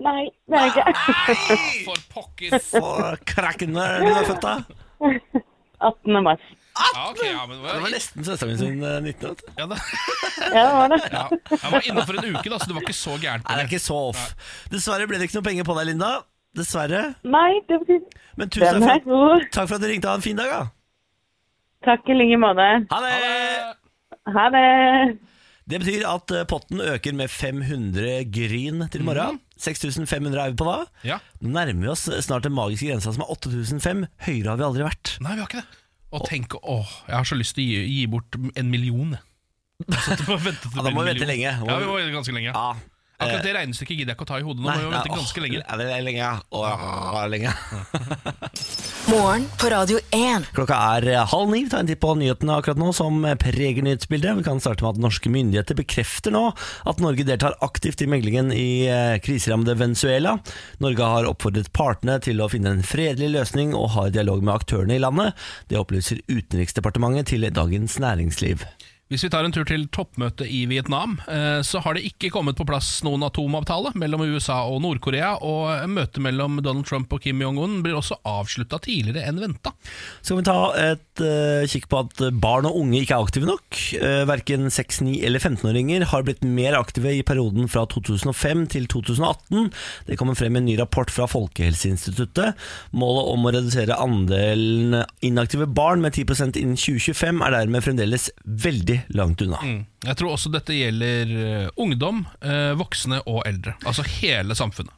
[SPEAKER 6] Nei, det er jeg <laughs> ikke.
[SPEAKER 3] For
[SPEAKER 2] <laughs>
[SPEAKER 3] pokker!
[SPEAKER 2] For krakken når du er født, da.
[SPEAKER 6] 18. mars.
[SPEAKER 3] Ja, ok, ja, men
[SPEAKER 2] Det var
[SPEAKER 3] hva-
[SPEAKER 2] nesten søsteren min sin eh, 19. vet du.
[SPEAKER 3] ja, det-
[SPEAKER 6] Ja, det var det.
[SPEAKER 3] ja. Jeg var innafor en uke, da, så det var ikke så gærent.
[SPEAKER 2] Nei, det er ikke så off. Dessverre ble det ikke noe penger på deg, Linda. Dessverre.
[SPEAKER 6] Nei, det betyr
[SPEAKER 2] Men tusen
[SPEAKER 6] Den er
[SPEAKER 2] takk for,
[SPEAKER 6] god.
[SPEAKER 2] takk for at du ringte. Ha en fin dag, da.
[SPEAKER 6] Takk i like måte.
[SPEAKER 2] Ha det!
[SPEAKER 6] Ha det.
[SPEAKER 2] Det betyr at eh, potten øker med 500 gryn til i morgen. 6500 er vi på da.
[SPEAKER 3] Ja.
[SPEAKER 2] Nå nærmer vi oss eh, snart den magiske grensa som er 8500. Høyere har vi aldri vært.
[SPEAKER 3] Nei, vi har ikke det. Og tenk, åh, jeg har så lyst til å gi, gi bort en million. jeg. Så at du må vente til
[SPEAKER 2] Ja, da må
[SPEAKER 3] en
[SPEAKER 2] vi eh, vente
[SPEAKER 3] million.
[SPEAKER 2] lenge.
[SPEAKER 3] Ja, vi må vente ganske lenge. Akkurat det regnestykket gidder jeg ikke å ta i hodet nå. Må vi vente ganske lenge.
[SPEAKER 2] Ja, det er lenge. Åh, lenge.
[SPEAKER 4] Morgen på Radio 1.
[SPEAKER 2] Klokka er eh, halv ni. Vi tar en titt på nyhetene akkurat nå som preger nyhetsbildet. Vi kan starte med at norske myndigheter bekrefter nå at Norge deltar aktivt i meglingen i eh, kriserammede Venezuela. Norge har oppfordret partene til å finne en fredelig løsning og ha dialog med aktørene i landet. Det opplyser Utenriksdepartementet til Dagens Næringsliv.
[SPEAKER 3] Hvis vi tar en tur til toppmøtet i Vietnam, eh, så har det ikke kommet på plass noen atomavtale mellom USA og Nord-Korea, og møtet mellom Donald Trump og Kim Jong-un blir også avslutta tidligere enn venta.
[SPEAKER 2] Så kan vi ta et eh, kikk på at barn og unge ikke er aktive nok. Uh, verken 6-, 9- eller 15-åringer har blitt mer aktive i perioden fra 2005 til 2018. Det kommer frem i en ny rapport fra Folkehelseinstituttet. Målet om å redusere andelen inaktive barn med 10 innen 2025 er dermed fremdeles veldig langt unna.
[SPEAKER 3] Mm. Jeg tror også dette gjelder eh, ungdom, eh, voksne og eldre. Altså hele samfunnet.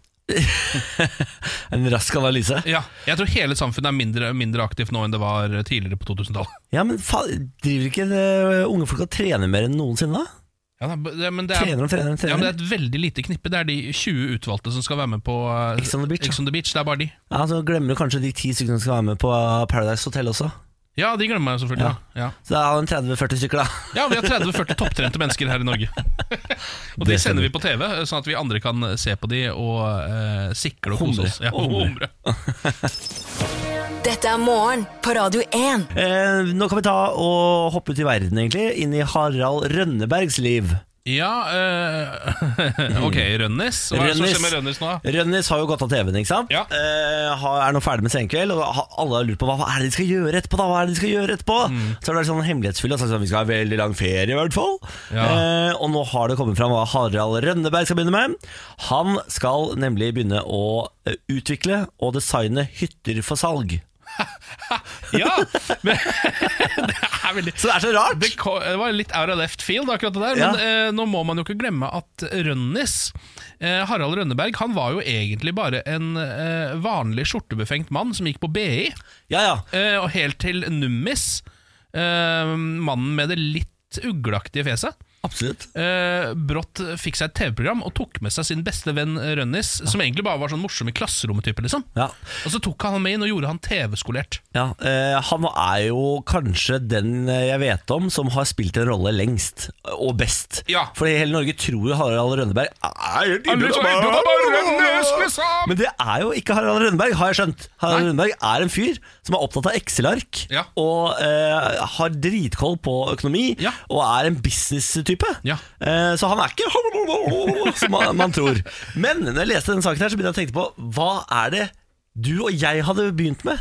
[SPEAKER 2] En rask analyse.
[SPEAKER 3] Ja, jeg tror hele samfunnet er mindre, mindre aktivt nå enn det var eh, tidligere på 2000-tallet.
[SPEAKER 2] Ja, men fa Driver ikke eh, unge folk og trener mer enn noensinne, da?
[SPEAKER 3] <laughs> Ja, da, b- det- men det er,
[SPEAKER 2] Trener og trener og
[SPEAKER 3] ja, men det
[SPEAKER 2] trener.
[SPEAKER 3] er et veldig lite knippe. Det er de 20 utvalgte som skal være med på eh,
[SPEAKER 2] Ex on the beach, ja.
[SPEAKER 3] Ex on the Beach. Det er bare de.
[SPEAKER 2] Ja, så glemmer du kanskje de ti stykkene som skal være med på Paradise Hotel også.
[SPEAKER 3] Ja, de glemmer jeg selvfølgelig.
[SPEAKER 2] Ja.
[SPEAKER 3] Ja. Ja.
[SPEAKER 2] Så da har han 30-40 stykker, da.
[SPEAKER 3] Ja, vi har 30-40 topptrente mennesker her
[SPEAKER 2] <laughs>
[SPEAKER 3] i Norge. Og de
[SPEAKER 2] Det
[SPEAKER 3] sender
[SPEAKER 2] stemmer.
[SPEAKER 3] vi på TV, sånn at vi andre kan se på de og eh, sikle og kose
[SPEAKER 2] Humre.
[SPEAKER 3] oss. Ja,
[SPEAKER 2] Og humre.
[SPEAKER 3] humre.
[SPEAKER 4] Dette er morgen på Radio 1.
[SPEAKER 2] Eh, nå kan vi ta og hoppe ut i verden, egentlig. Inn i Harald Rønnebergs liv.
[SPEAKER 3] Ja, eh, <laughs> ok, Rønnis. Hva er det som skjer med Rønnis
[SPEAKER 2] <laughs>
[SPEAKER 3] nå?
[SPEAKER 2] Rønnis har jo gått av TV-en, ikke sant?
[SPEAKER 3] Ja.
[SPEAKER 2] Eh, har- er nå ferdig med Senkveld, og har- alle har lurt på hva, hva er det de skal gjøre etterpå. da? Hva er det de skal gjøre etterpå?
[SPEAKER 3] Mm.
[SPEAKER 2] Så har det vært sånn hemmelighetsfull og sagt sånn, vi skal ha veldig lang ferie, i hvert fall.
[SPEAKER 3] Ja.
[SPEAKER 2] Eh, og nå har det kommet fram hva Harald Rønneberg skal begynne med. Han skal nemlig begynne å eh, utvikle og designe hytter for salg.
[SPEAKER 3] Ja, men, <laughs> det er veldig
[SPEAKER 2] Så det er så rart!
[SPEAKER 3] det, ko- det var litt out of left field, akkurat det der. Men eh, nå må man jo ikke glemme at Rønnis, eh, Harald Rønneberg, han var jo egentlig bare en eh, vanlig skjortebefengt mann som gikk på BI.
[SPEAKER 2] Ja, ja.
[SPEAKER 3] Eh, og helt til Nummis, eh, mannen med det litt ugleaktige fjeset,
[SPEAKER 2] Absolutt.
[SPEAKER 3] eh, brått fikk seg et TV-program og tok med seg sin beste venn eh, Rønnis, som egentlig bare var sånn morsom i klasserommet-type, liksom.
[SPEAKER 2] Ja.
[SPEAKER 3] Og så tok han han med inn og gjorde han TV-skolert.
[SPEAKER 2] Ja, eh, Han er jo kanskje den eh, jeg vet om som har spilt en rolle lengst og best.
[SPEAKER 3] Ja.
[SPEAKER 2] Fordi hele Norge tror jo Harald Rønneberg er helt
[SPEAKER 3] Han er så innbydende, bare Rønnes, liksom!
[SPEAKER 2] Men det er jo ikke Harald Rønneberg, har jeg skjønt. Harald
[SPEAKER 3] Nei.
[SPEAKER 2] Rønneberg er en fyr som er opptatt av Excel-ark
[SPEAKER 3] Ja.
[SPEAKER 2] og eh, har dritkoll på økonomi
[SPEAKER 3] Ja.
[SPEAKER 2] og er en business-type.
[SPEAKER 3] Ja.
[SPEAKER 2] Eh, så han er ikke <laughs> som man, man tror. Men når jeg leste denne saken her, så begynte jeg å tenke på hva er det du og jeg hadde begynt med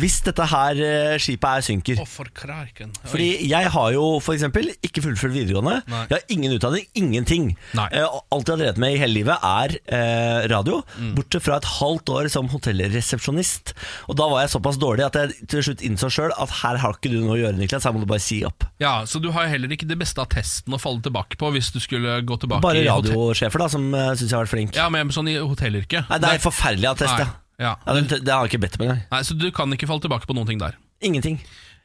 [SPEAKER 2] hvis dette her eh, skipet er synker.
[SPEAKER 3] Å, for kraken. Oi.
[SPEAKER 2] Fordi jeg har jo for eksempel ikke fullført videregående.
[SPEAKER 3] Nei.
[SPEAKER 2] Jeg har ingen utdanning, ingenting.
[SPEAKER 3] Nei.
[SPEAKER 2] Eh, og alt jeg har drevet med i hele livet, er eh, radio.
[SPEAKER 3] Mm.
[SPEAKER 2] Bortsett fra et halvt år som hotellresepsjonist. Og da var jeg såpass dårlig at jeg til slutt innså sjøl at her har ikke du noe å gjøre, Niklas. Her må du bare si opp.
[SPEAKER 3] Ja, Så du har heller ikke det beste attesten å falle tilbake på hvis du skulle gå tilbake
[SPEAKER 2] Bare
[SPEAKER 3] i hotell-
[SPEAKER 2] radiosjefer, da, som eh, syns jeg har vært flink.
[SPEAKER 3] Ja, men sånn i hotellyrket.
[SPEAKER 2] Nei, det er forferdelig attest,
[SPEAKER 3] Nei,
[SPEAKER 2] ja.
[SPEAKER 3] ja.
[SPEAKER 2] Ja, den, det har jeg ikke bedt om engang.
[SPEAKER 3] Nei, Så du kan ikke falle tilbake på noen ting der.
[SPEAKER 2] Ingenting.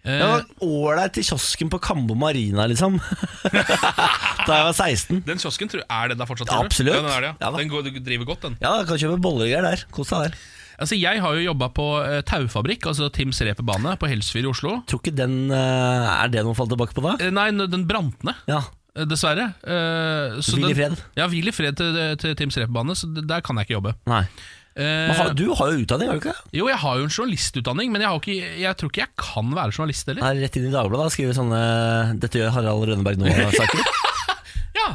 [SPEAKER 3] Eh,
[SPEAKER 2] Jeg var ålreit i kiosken på Kambo Marina, liksom. <laughs> da jeg var 16.
[SPEAKER 3] Den kiosken tror, er det der fortsatt?
[SPEAKER 2] Ja,
[SPEAKER 3] tror du?
[SPEAKER 2] absolutt.
[SPEAKER 3] Ja, den, er det, ja.
[SPEAKER 2] Ja da.
[SPEAKER 3] den går, driver godt, den.
[SPEAKER 2] Ja, da, kan kjøpe boller og greier der. Kos deg der.
[SPEAKER 3] Altså, jeg har jo jobba på eh, taufabrikk, altså Tims reperbane på Helsfyr i Oslo.
[SPEAKER 2] Tror ikke den eh, Er det noe å falle tilbake på da?
[SPEAKER 3] Eh, Nei, n- den brant ned,
[SPEAKER 2] Ja.
[SPEAKER 3] eh, dessverre. Eh, så
[SPEAKER 2] Hvil i
[SPEAKER 3] den-
[SPEAKER 2] fred.
[SPEAKER 3] Ja, hvil i fred til, til Tims reperbane, så d- der kan jeg ikke jobbe.
[SPEAKER 2] Nei.
[SPEAKER 3] Eh,
[SPEAKER 2] Men har, du har jo utdanning, har du ikke det?
[SPEAKER 3] Jo, jeg har jo en journalistutdanning, men jeg, har ikke, jeg tror ikke jeg kan være journalist heller.
[SPEAKER 2] Nei, rett inn i Dagbladet og skrive sånne 'Dette gjør Harald Rønneberg nå'-saker.
[SPEAKER 3] Ja,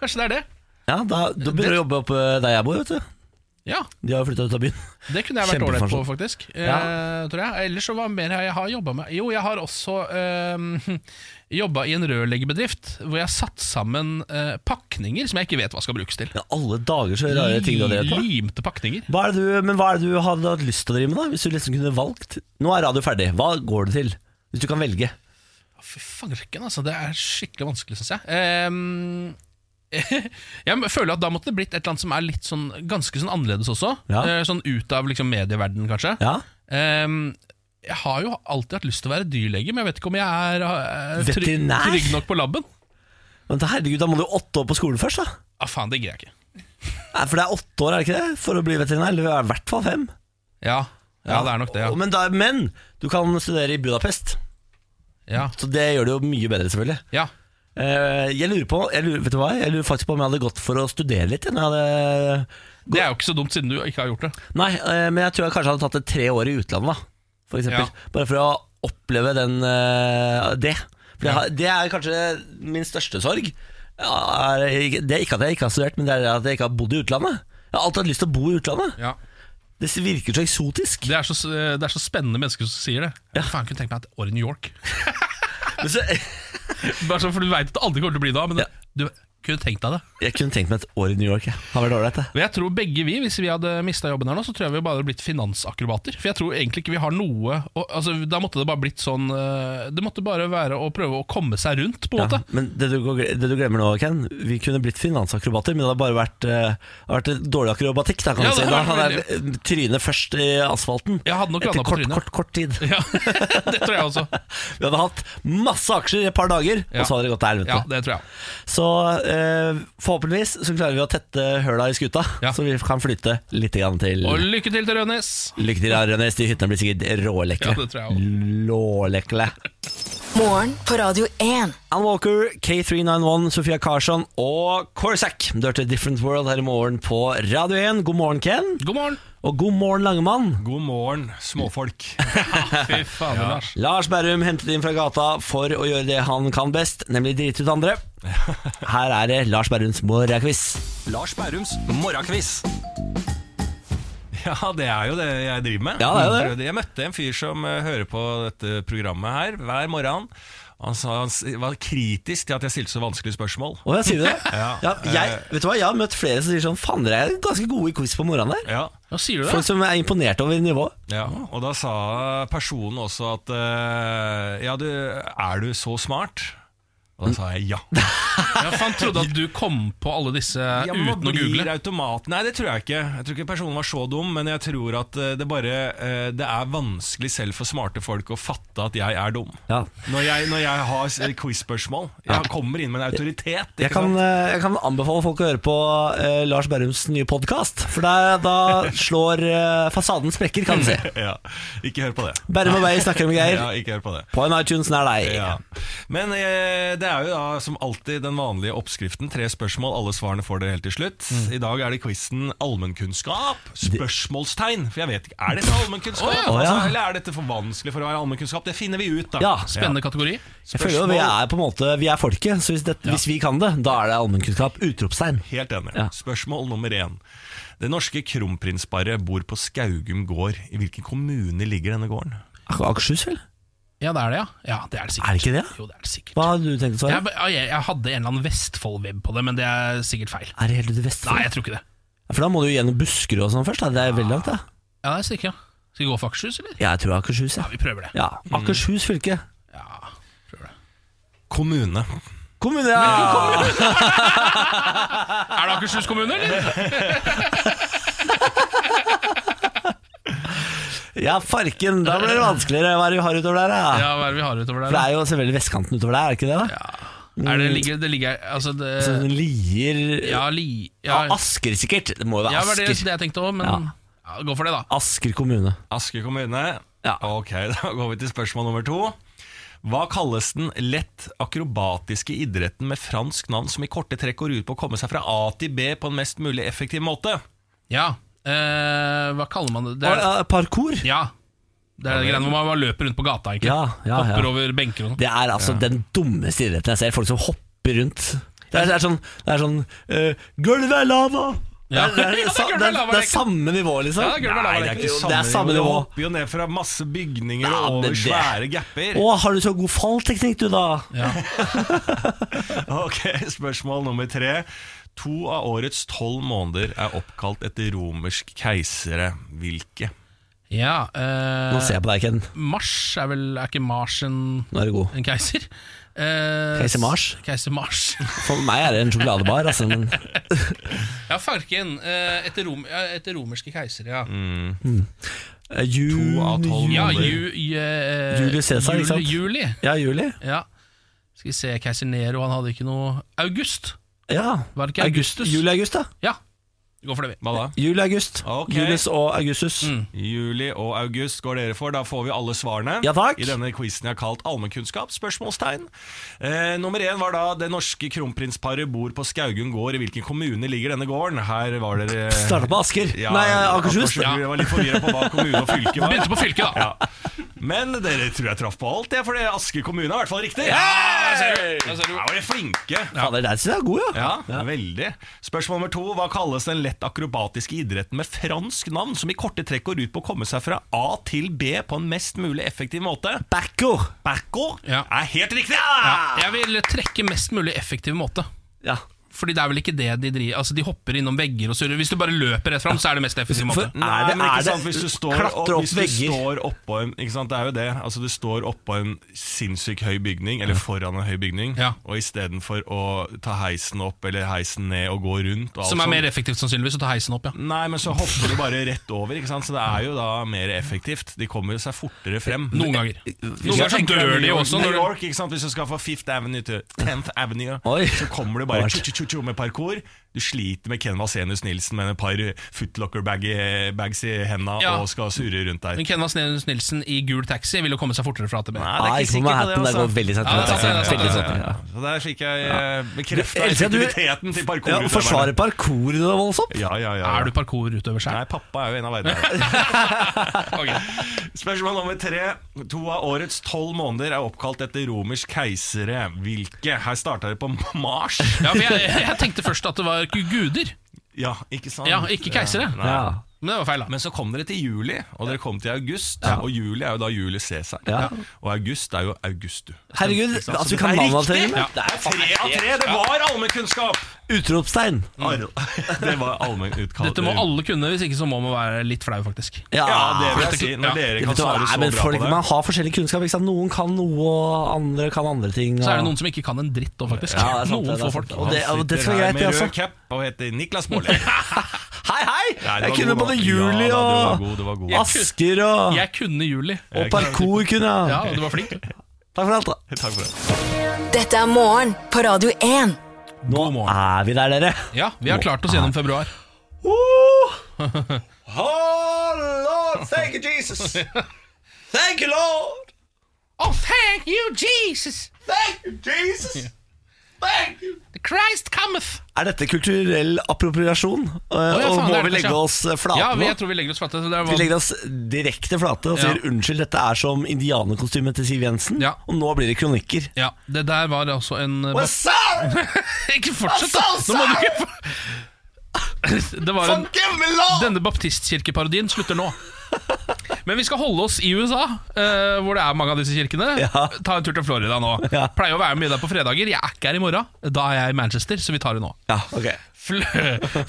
[SPEAKER 3] kanskje det er det.
[SPEAKER 2] Ja, da, da begynner du å jobbe oppe der jeg bor, vet du.
[SPEAKER 3] Ja,
[SPEAKER 2] De har jo flytta ut av byen. <laughs>
[SPEAKER 3] Det kunne jeg vært ålreit på,
[SPEAKER 2] Kjempeforskjell.
[SPEAKER 3] faktisk.
[SPEAKER 2] Ja.
[SPEAKER 3] Eh, tror jeg. Ellers så hva mer har jeg har jobba med? Jo, jeg har også eh, <laughs> jobba i en rørleggerbedrift hvor jeg satt sammen eh, pakninger som jeg ikke vet hva skal brukes til.
[SPEAKER 2] Ja, alle dager så rare ting du har drevet på.
[SPEAKER 3] Limte pakninger.
[SPEAKER 2] Hva er det du, men hva er det du hadde hatt lyst til å drive med da, hvis du liksom kunne valgt? Nå er radio ferdig, hva går det til? Hvis du kan velge.
[SPEAKER 3] Fy fanken, altså. Det er skikkelig vanskelig, syns jeg. Ehm, <laughs> jeg føler at da måtte det blitt et eller annet som er litt sånn ganske sånn annerledes også.
[SPEAKER 2] Ja.
[SPEAKER 3] Eh, sånn ut av liksom medieverdenen, kanskje.
[SPEAKER 2] Ja,
[SPEAKER 3] Ehm, jeg har jo alltid hatt lyst til å være dyrlege, men jeg vet ikke om jeg er eh, trygg,
[SPEAKER 2] Veterinær?
[SPEAKER 3] trygg nok på labben.
[SPEAKER 2] men herregud, da må du jo åtte år på skolen først da.
[SPEAKER 3] Ah, faen, det greier jeg ikke.
[SPEAKER 2] Nei, for det er åtte år, er det ikke det? For å bli veterinær, eller i hvert fall fem.
[SPEAKER 3] Ja, Ja, det er nok det, ja.
[SPEAKER 2] Og- Men, da, men du kan studere i Budapest,
[SPEAKER 3] Ja,
[SPEAKER 2] så det gjør det jo mye bedre, selvfølgelig.
[SPEAKER 3] ja.
[SPEAKER 2] Eh, Jeg lurer på jeg lurer, Vet du hva? Jeg lurer faktisk på om jeg hadde gått for å studere litt. jeg, når Jeg hadde...
[SPEAKER 3] Det er jo ikke så dumt, siden du ikke har gjort det.
[SPEAKER 2] Nei, eh, men jeg tror jeg kanskje hadde tatt det tre år i utlandet, da. For eksempel.
[SPEAKER 3] Ja.
[SPEAKER 2] Bare for å oppleve den, eh, det. For jeg har- det er kanskje min største sorg. Ja, er ikke- Det er ikke at jeg ikke har studert, men det er at jeg ikke har bodd i utlandet. Jeg har alltid hatt lyst til å bo i utlandet.
[SPEAKER 3] Ja.
[SPEAKER 2] Det virker så eksotisk.
[SPEAKER 3] Det, er så, eh, det er så spennende mennesker som sier det. Jeg faen kunne tenkt meg et år i New York. <laughs>
[SPEAKER 2] Men så, <laughs>
[SPEAKER 3] Bare sånn, for Du vet at det aldri kommer til å bli det, men det, du kunne tenkt deg det.
[SPEAKER 2] jeg kunne tenkt meg et år i New York. Jeg. Har vært ålreit, det.
[SPEAKER 3] Og jeg tror begge vi, Hvis vi hadde mista jobben her nå, så tror jeg vi bare hadde blitt finansakrobater. For jeg tror egentlig ikke vi har noe og, altså, Da måtte det bare blitt sånn eh, Det måtte bare være å prøve å komme seg rundt, på en
[SPEAKER 2] Ja,
[SPEAKER 3] måte.
[SPEAKER 2] men det du, går- det du glemmer nå, Ken Vi kunne blitt finansakrobater, men det hadde bare vært, eh, vært dårlig akrobatikk. Da, kan
[SPEAKER 3] Ja,
[SPEAKER 2] du si.
[SPEAKER 3] det
[SPEAKER 2] da
[SPEAKER 3] hadde
[SPEAKER 2] hadde
[SPEAKER 3] vært
[SPEAKER 2] jeg trynet først i asfalten.
[SPEAKER 3] Jeg hadde nok
[SPEAKER 2] Etter
[SPEAKER 3] landa på
[SPEAKER 2] kort,
[SPEAKER 3] trynet.
[SPEAKER 2] kort, kort tid.
[SPEAKER 3] Ja, <laughs> det tror jeg også.
[SPEAKER 2] <laughs> Vi hadde hatt masse aksjer i et par dager,
[SPEAKER 3] Ja.
[SPEAKER 2] og så hadde det gått til helvete.
[SPEAKER 3] Ja, det tror jeg.
[SPEAKER 2] Så eh, forhåpentligvis så klarer vi å tette høla i skuta,
[SPEAKER 3] Ja.
[SPEAKER 2] så vi kan flytte litt grann til
[SPEAKER 3] Og lykke til til Rønnes!
[SPEAKER 2] Lykke til, Arønes. De hyttene blir sikkert rålekle.
[SPEAKER 3] Ja, det tror jeg
[SPEAKER 2] Lålekle.
[SPEAKER 4] Morgen på Radio 1.
[SPEAKER 2] Ann Walker, K391, Sofia Carson og Corsac. Du hørte Different World her i morgen på Radio 1. God morgen, Ken.
[SPEAKER 3] God morgen!
[SPEAKER 2] Og god morgen, Langemann.
[SPEAKER 7] God morgen, småfolk.
[SPEAKER 3] Fy fader, Lars.
[SPEAKER 2] Lars Berrum hentet inn fra gata for å gjøre det han kan best, nemlig drite ut
[SPEAKER 7] <laughs>
[SPEAKER 2] andre. Her er det Lars Berrums morgenquiz.
[SPEAKER 7] Lars Bærums morgenquiz. Ja, det er jo det jeg driver med.
[SPEAKER 2] Ja, det er jo
[SPEAKER 7] Jeg møtte en fyr som eh, hører på dette programmet her hver morgen. Han, sa, han s- var kritisk til at jeg stilte så vanskelige spørsmål.
[SPEAKER 2] Å, jeg sier du det?
[SPEAKER 7] <laughs> Ja.
[SPEAKER 2] ja, jeg, vet du hva, jeg har møtt flere som sier sånn Faen, dere er ganske gode i quiz på morgenen der.
[SPEAKER 7] Ja,
[SPEAKER 3] Hva sier du
[SPEAKER 2] Folk
[SPEAKER 3] det?
[SPEAKER 2] som er imponert over nivået.
[SPEAKER 7] ja. Og da sa personen også at eh, Ja, du, er du så smart? Og da sa jeg ja.
[SPEAKER 3] Ja, for han trodde at du kom på alle disse
[SPEAKER 7] Ja, men hva
[SPEAKER 3] uten å
[SPEAKER 7] blir
[SPEAKER 3] google.
[SPEAKER 7] Automat? Nei, det tror jeg ikke. Jeg tror ikke personen var så dum, men jeg tror at eh, det bare eh, Det er vanskelig selv for smarte folk å fatte at jeg er dum.
[SPEAKER 2] Ja.
[SPEAKER 7] Når jeg, når jeg har s- quiz-spørsmål. Jeg kommer inn med en autoritet. ikke
[SPEAKER 2] Jeg kan,
[SPEAKER 7] sant?
[SPEAKER 2] eh, jeg kan anbefale folk å høre på eh, Lars Berrums nye podkast, for der, da slår eh, fasaden sprekker, kan du si.
[SPEAKER 7] <laughs> ja. Ikke hør på det.
[SPEAKER 2] Berrum og Beyer snakker om greier.
[SPEAKER 7] <laughs> Ja, ikke hør på det.
[SPEAKER 2] På en iTunes nær deg.
[SPEAKER 7] Ja. Men eh, det er jo da som alltid den vanlige oppskriften. Tre spørsmål, alle svarene får dere helt til slutt. I dag er det quizen allmennkunnskap? Spørsmålstegn. For jeg vet ikke, Er dette allmennkunnskap?
[SPEAKER 3] Å, ja.
[SPEAKER 2] Å, ja.
[SPEAKER 7] altså, eller er dette for vanskelig for å være allmennkunnskap? Det finner vi ut, da.
[SPEAKER 2] Ja.
[SPEAKER 3] Spennende kategori.
[SPEAKER 2] Jeg føler jo vi er på en måte Vi er folket, så hvis, det, hvis vi kan det, da er det allmennkunnskap. Utropstegn.
[SPEAKER 7] Helt enig.
[SPEAKER 2] Ja.
[SPEAKER 7] Spørsmål nummer én. Det norske kronprinsparet bor på Skaugum gård. I hvilken kommune ligger denne gården?
[SPEAKER 2] Ak- Akershus, vel?
[SPEAKER 3] Ja, det er det, ja. ja det er det sikkert.
[SPEAKER 2] Er det ikke det?
[SPEAKER 3] Jo, det er det sikkert.
[SPEAKER 2] Hva hadde du tenkt å svare?
[SPEAKER 3] Jeg, jeg, jeg hadde en eller annen Vestfold-web på det, men det er sikkert feil.
[SPEAKER 2] Er det helt ute i Vestfold?
[SPEAKER 3] Nei, jeg tror ikke det.
[SPEAKER 2] For da må du jo gjennom Buskerud og sånn først. Da. Det er veldig langt, da.
[SPEAKER 3] Ja, det er sikkert, ja. Skal vi gå for Akershus, eller?
[SPEAKER 2] Jeg tror Akershus, ja.
[SPEAKER 3] Ja, vi prøver det.
[SPEAKER 2] ja. Akershus fylke.
[SPEAKER 3] Ja, prøver det.
[SPEAKER 7] Kommune.
[SPEAKER 2] Kommune, ja!
[SPEAKER 3] Er det Akershus kommune,
[SPEAKER 2] <laughs>
[SPEAKER 3] eller?
[SPEAKER 2] Ja, farken! Da blir det vanskeligere hva er det vi har utover der, da.
[SPEAKER 3] Ja, hva er det vi har
[SPEAKER 2] For
[SPEAKER 3] utover
[SPEAKER 2] det
[SPEAKER 3] der? da?
[SPEAKER 2] er jo selvfølgelig vestkanten utover der, er det ikke det? da?
[SPEAKER 3] Er det ligger, det ligger Altså, det
[SPEAKER 2] Sånn Lier
[SPEAKER 3] Ja, li...
[SPEAKER 2] ja,
[SPEAKER 3] Ja,
[SPEAKER 2] Asker, sikkert. Det må jo være
[SPEAKER 3] ja det var det,
[SPEAKER 2] Asker.
[SPEAKER 3] det jeg tenkte òg, men
[SPEAKER 2] Ja.
[SPEAKER 3] ja, gå for det, da.
[SPEAKER 2] Asker kommune.
[SPEAKER 7] Asker kommune.
[SPEAKER 2] Ja.
[SPEAKER 7] Ok, <laughs> da går vi til spørsmål nummer to. Hva kalles den lett akrobatiske idretten med fransk navn som i korte trekk går ut på å komme seg fra A til B på en mest mulig effektiv måte?
[SPEAKER 3] Ja. eh, hva kaller man det? det er,
[SPEAKER 2] Og, eh, parkour.
[SPEAKER 3] ja. Det er det greiene hvor man bare løper rundt på gata, egentlig.
[SPEAKER 2] Ja, ja, ja.
[SPEAKER 3] Hopper over benker og sånn.
[SPEAKER 2] Det er altså den dummeste idretten jeg ser. Folk som hopper rundt. Det er, det er sånn, det er sånn eh, Gulvet er lava!
[SPEAKER 3] Ja.
[SPEAKER 2] Det, er, det,
[SPEAKER 3] <laughs>
[SPEAKER 2] er,
[SPEAKER 3] Ja, det er
[SPEAKER 2] sa-
[SPEAKER 3] gulvet er
[SPEAKER 2] det, er,
[SPEAKER 3] lava,
[SPEAKER 2] det
[SPEAKER 3] det
[SPEAKER 2] er
[SPEAKER 3] er
[SPEAKER 2] samme nivå, liksom.
[SPEAKER 3] Ja, det er gulvet er lava,
[SPEAKER 2] Nei, det er ikke
[SPEAKER 7] nivå.
[SPEAKER 2] det er samme
[SPEAKER 7] Du
[SPEAKER 2] nivå.
[SPEAKER 7] hopper jo ned fra masse bygninger
[SPEAKER 2] Ja,
[SPEAKER 7] og
[SPEAKER 2] men
[SPEAKER 7] over
[SPEAKER 2] det-
[SPEAKER 7] svære gapper.
[SPEAKER 2] Å, har du så god fallteknikk, du, da?
[SPEAKER 7] <laughs> Ok, spørsmål nummer tre. To av årets tolv måneder er oppkalt etter romersk keisere. Hvilke?
[SPEAKER 3] Ja,
[SPEAKER 2] Nå
[SPEAKER 3] eh,
[SPEAKER 2] ser jeg på deg, Ken.
[SPEAKER 3] Mars er vel Er ikke Mars en,
[SPEAKER 2] Nå er du god.
[SPEAKER 3] en keiser? Eh,
[SPEAKER 2] Keiser Mars?
[SPEAKER 3] Keiser Mars. <laughs>
[SPEAKER 2] For meg er det en sjokoladebar. Altså, men
[SPEAKER 3] Ja, farken. eh, Etter, rom, ja, etter romerske keisere, ja.
[SPEAKER 2] eh, juni,
[SPEAKER 7] To av tolv.
[SPEAKER 3] Ja,
[SPEAKER 7] Måneder.
[SPEAKER 3] ju, ju, eh,
[SPEAKER 2] Julius Caesar,
[SPEAKER 3] juli,
[SPEAKER 2] ikke sant?
[SPEAKER 3] Juli,
[SPEAKER 2] Ja, juli.
[SPEAKER 3] ja. Skal vi se, keiser Nero, han hadde ikke noe August!
[SPEAKER 2] Ja.
[SPEAKER 3] Var det ikke Augustus?
[SPEAKER 2] Juli-august, da.
[SPEAKER 3] Ja. Vi går for det, vi.
[SPEAKER 7] Hva
[SPEAKER 2] <laughs>
[SPEAKER 7] da?
[SPEAKER 2] Juli, august.
[SPEAKER 7] Ok. Mm.
[SPEAKER 2] Julius og Augustus.
[SPEAKER 7] Juli og august går dere for. Da får vi alle svarene
[SPEAKER 2] Ja, takk.
[SPEAKER 7] i denne quizen jeg har kalt Allmennkunnskap? spørsmålstegn. Eh, nummer én var da det norske kronprinsparet bor på Skaugum gård. I hvilken kommune ligger denne gården? Her var dere
[SPEAKER 2] Starta på Asker.
[SPEAKER 7] Ja,
[SPEAKER 2] Nei, eh, Akershus.
[SPEAKER 7] Akershus. Vi var litt forvirra på hva kommune og fylke var.
[SPEAKER 3] Begynte på fylket, da.
[SPEAKER 7] Ja. Men dere tror jeg traff på alt, jeg, for det Asker kommune er i hvert fall riktig.
[SPEAKER 3] der ser du, der ser du.
[SPEAKER 7] Her var dere flinke.
[SPEAKER 2] Fader, der synes jeg er god, ja.
[SPEAKER 7] Ja, veldig. Spørsmål nummer to. Hva kalles den lett akrobatiske idretten med fransk navn, som i korte trekk går ut på å komme seg fra A til B på en mest mulig effektiv måte?
[SPEAKER 2] Backer. Ah!
[SPEAKER 7] Backo
[SPEAKER 3] Ja.
[SPEAKER 7] er helt riktig!
[SPEAKER 3] Jeg vil trekke mest mulig effektiv måte.
[SPEAKER 2] Ja.
[SPEAKER 3] Fordi det er vel ikke det de driver Altså, de hopper innom vegger og surrer. Hvis du bare løper rett fram, så er det mest effektiv
[SPEAKER 2] For-
[SPEAKER 3] måte.
[SPEAKER 2] for-
[SPEAKER 7] Nei,
[SPEAKER 2] Er det-
[SPEAKER 7] men ikke
[SPEAKER 2] er det-
[SPEAKER 7] sant, hvis du står,
[SPEAKER 2] klatre
[SPEAKER 7] opp,
[SPEAKER 2] opp
[SPEAKER 7] hvis du
[SPEAKER 2] vegger?
[SPEAKER 7] står oppå en ikke sant, Det er jo det. Altså, du står oppå en sinnssykt høy bygning, eller foran en høy bygning,
[SPEAKER 3] Ja.
[SPEAKER 7] og istedenfor å ta heisen opp eller heisen ned og gå rundt og alt
[SPEAKER 3] Som er
[SPEAKER 7] sånt,
[SPEAKER 3] mer effektivt, sannsynligvis, å ta heisen opp, ja.
[SPEAKER 7] Nei, men så hopper de bare rett over, ikke sant? så det er jo da mer effektivt. De kommer seg fortere frem.
[SPEAKER 3] Noen ganger. Noen ganger så
[SPEAKER 7] eh,
[SPEAKER 2] sånn
[SPEAKER 7] tenker
[SPEAKER 3] dør
[SPEAKER 7] New
[SPEAKER 3] de
[SPEAKER 7] York-
[SPEAKER 3] også. Når
[SPEAKER 7] New
[SPEAKER 3] du,
[SPEAKER 7] York, ikke sant? Hvis du skal fra Fifth Avenue til 10th Avenue,
[SPEAKER 2] Oi.
[SPEAKER 7] så kommer du bare
[SPEAKER 2] Hardt.
[SPEAKER 7] tju, tju, tju, tju, med parkour. Du sliter med Ken Vasenius Nilsen med et par footlocker-bags i henda
[SPEAKER 3] Ja.
[SPEAKER 7] og skal surre rundt der.
[SPEAKER 3] men Ken Vasenius Nilsen i gul taxi vil jo komme seg fortere fra AtB.
[SPEAKER 7] Nei,
[SPEAKER 2] Nei, ikke på Manhattan. Det går veldig sakte.
[SPEAKER 3] Ja, det er sant, det er sant,
[SPEAKER 2] Veldig
[SPEAKER 3] det er
[SPEAKER 2] sakte, ja.
[SPEAKER 7] altså. Så der fikk jeg eh, bekrefta
[SPEAKER 2] Elsker at du-
[SPEAKER 7] effektiviteten til
[SPEAKER 2] Ja,
[SPEAKER 7] parkour.
[SPEAKER 2] og Forsvare parkour det var voldsomt.
[SPEAKER 7] Ja, ja, ja.
[SPEAKER 3] Er du parkourutøver
[SPEAKER 7] Nei,
[SPEAKER 3] sjøl?
[SPEAKER 7] pappa er jo en av verdens <laughs> Spørsmål nummer tre. To av årets tolv måneder er oppkalt etter romersk keisere. Hvilke? Her starta det på Mars.
[SPEAKER 3] Ja, for jeg, jeg tenkte først at det var gu- guder,
[SPEAKER 7] Ja, ikke sant?
[SPEAKER 3] Ja, ikke keisere.
[SPEAKER 7] Nei.
[SPEAKER 2] Ja.
[SPEAKER 3] men det var feil. da
[SPEAKER 7] Men så kom dere til juli, og dere kom til august. Og juli er jo da Julius Cæsar.
[SPEAKER 2] Ja.
[SPEAKER 7] Og august er jo Augustu.
[SPEAKER 2] Herregud,
[SPEAKER 7] Ikke sant?
[SPEAKER 2] altså,
[SPEAKER 7] Så
[SPEAKER 2] vi kan
[SPEAKER 7] det er
[SPEAKER 2] navnet til
[SPEAKER 7] riktig!
[SPEAKER 2] dem. Det er Mm.
[SPEAKER 7] Tre av tre! Det var allmennkunnskap!
[SPEAKER 2] Utropstegn.
[SPEAKER 7] Ar- <laughs> Det var allmennutkall.
[SPEAKER 3] Dette må alle kunne, hvis ikke så må man være litt flau, faktisk.
[SPEAKER 2] Ja,
[SPEAKER 7] Ja, det vil
[SPEAKER 3] Dette-
[SPEAKER 7] jeg si. Når
[SPEAKER 3] ja.
[SPEAKER 7] dere
[SPEAKER 2] Vet
[SPEAKER 7] kan
[SPEAKER 2] du hva,
[SPEAKER 7] svare
[SPEAKER 2] nei,
[SPEAKER 7] så
[SPEAKER 2] men
[SPEAKER 7] bra på
[SPEAKER 2] folk,
[SPEAKER 7] det.
[SPEAKER 2] Man har forskjellig kunnskap. Ikke sant? Noen kan noe, og andre kan andre ting. Og...
[SPEAKER 3] Så er det noen som ikke kan en dritt òg, faktisk.
[SPEAKER 2] Ja, det er sant, det
[SPEAKER 3] noen
[SPEAKER 2] er
[SPEAKER 3] få
[SPEAKER 2] sant.
[SPEAKER 3] folk.
[SPEAKER 2] Og det, og det
[SPEAKER 7] Sitter
[SPEAKER 2] skal være
[SPEAKER 7] her
[SPEAKER 2] greit, det,
[SPEAKER 7] med rød
[SPEAKER 2] altså.
[SPEAKER 7] cap og heter Niklas
[SPEAKER 2] <laughs>
[SPEAKER 7] Baarli.
[SPEAKER 2] Hei, hei!
[SPEAKER 7] Nei, det
[SPEAKER 2] Jeg
[SPEAKER 7] var
[SPEAKER 2] kunne
[SPEAKER 7] god,
[SPEAKER 2] både
[SPEAKER 7] da.
[SPEAKER 2] juli
[SPEAKER 7] Ja, det var
[SPEAKER 2] og
[SPEAKER 7] god, det var god.
[SPEAKER 2] Asker og,
[SPEAKER 3] Jeg kunne juli.
[SPEAKER 2] og parkour kunne jeg.
[SPEAKER 3] Ja, du var flink. du.
[SPEAKER 2] Takk for alt, da.
[SPEAKER 7] Takk for det.
[SPEAKER 4] Dette er morgen på Radio 1.
[SPEAKER 2] <laughs> Nå
[SPEAKER 3] God morgen.
[SPEAKER 2] er vi der, dere.
[SPEAKER 3] Ja, vi har klart oss gjennom februar.
[SPEAKER 2] Oh! oh Lord, thank you, Jesus. Thank you, Lord.
[SPEAKER 3] Oh, thank you, Jesus!
[SPEAKER 2] Thank you, Jesus. Thank you.
[SPEAKER 3] The Christ cometh!
[SPEAKER 2] Er dette kulturell appropriasjon? Eh,
[SPEAKER 3] ja,
[SPEAKER 2] og
[SPEAKER 3] faen, det
[SPEAKER 2] må
[SPEAKER 3] er
[SPEAKER 2] vi
[SPEAKER 3] det
[SPEAKER 2] legge
[SPEAKER 3] kanskje.
[SPEAKER 2] oss eh, flate
[SPEAKER 3] Ja, vi-
[SPEAKER 2] nå?
[SPEAKER 3] jeg tror vi legger oss flate. Så det
[SPEAKER 2] Vi
[SPEAKER 3] var
[SPEAKER 2] legger oss direkte flate og sier
[SPEAKER 3] Ja.
[SPEAKER 2] unnskyld, dette er som indianerkostymet til Siv Jensen.
[SPEAKER 3] Ja.
[SPEAKER 2] Og nå blir det kronikker.
[SPEAKER 3] Ja, det der var altså en
[SPEAKER 2] What's up?
[SPEAKER 3] <laughs> Ikke fortsett, da! Nå må du ikke <laughs> Det var en
[SPEAKER 2] Give me love!
[SPEAKER 3] Denne baptistkirkeparodien slutter nå. Men vi skal holde oss i USA, eh, hvor det er mange av disse kirkene.
[SPEAKER 2] Ja.
[SPEAKER 3] Ta en tur til Florida nå.
[SPEAKER 2] Ja.
[SPEAKER 3] Pleier å være mye der på fredager. Jeg er ikke her i morgen. Da er jeg i Manchester, så vi tar det nå.
[SPEAKER 2] Ja, ok
[SPEAKER 3] Fl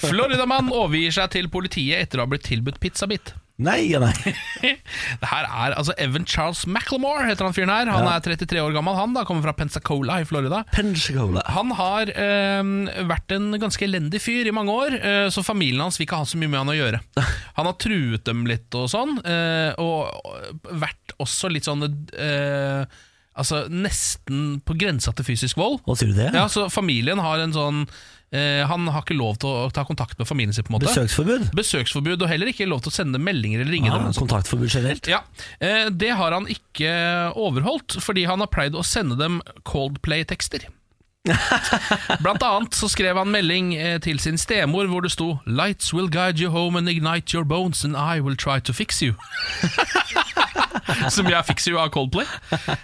[SPEAKER 3] Floridamann overgir seg til politiet etter å ha blitt tilbudt pizzabit. <laughs>
[SPEAKER 2] Nei, ja, nei.
[SPEAKER 3] Det her er altså Evan Charles McLemore, heter han fyren her. Han er 33 år gammel, han da, kommer fra Pensacola i Florida.
[SPEAKER 2] Pensacola.
[SPEAKER 3] Han har eh, vært en ganske elendig fyr i mange år, eh, så familien hans vil ikke ha så mye med han å gjøre. Han har truet dem litt og sånn, eh, og vært også litt sånn eh, Altså nesten på grensa til fysisk vold.
[SPEAKER 2] Hva sier du det?
[SPEAKER 3] Ja, så familien har en sånn eh, Han har ikke lov til å ta kontakt med familien sin, på en måte.
[SPEAKER 2] Besøksforbud?
[SPEAKER 3] Besøksforbud, og heller ikke lov til å sende meldinger eller ringe
[SPEAKER 2] Ah, Ja,
[SPEAKER 3] dem. og sånt.
[SPEAKER 2] kontaktforbud generelt.
[SPEAKER 3] Ja, eh, Det har han ikke overholdt, fordi han har pleid å sende dem Coldplay-tekster. Blant annet så skrev han melding eh, til sin stemor hvor det sto 'Lights will guide you home and ignite your bones and I will try to fix you'. <laughs> som jeg fikser jo av Coldplay.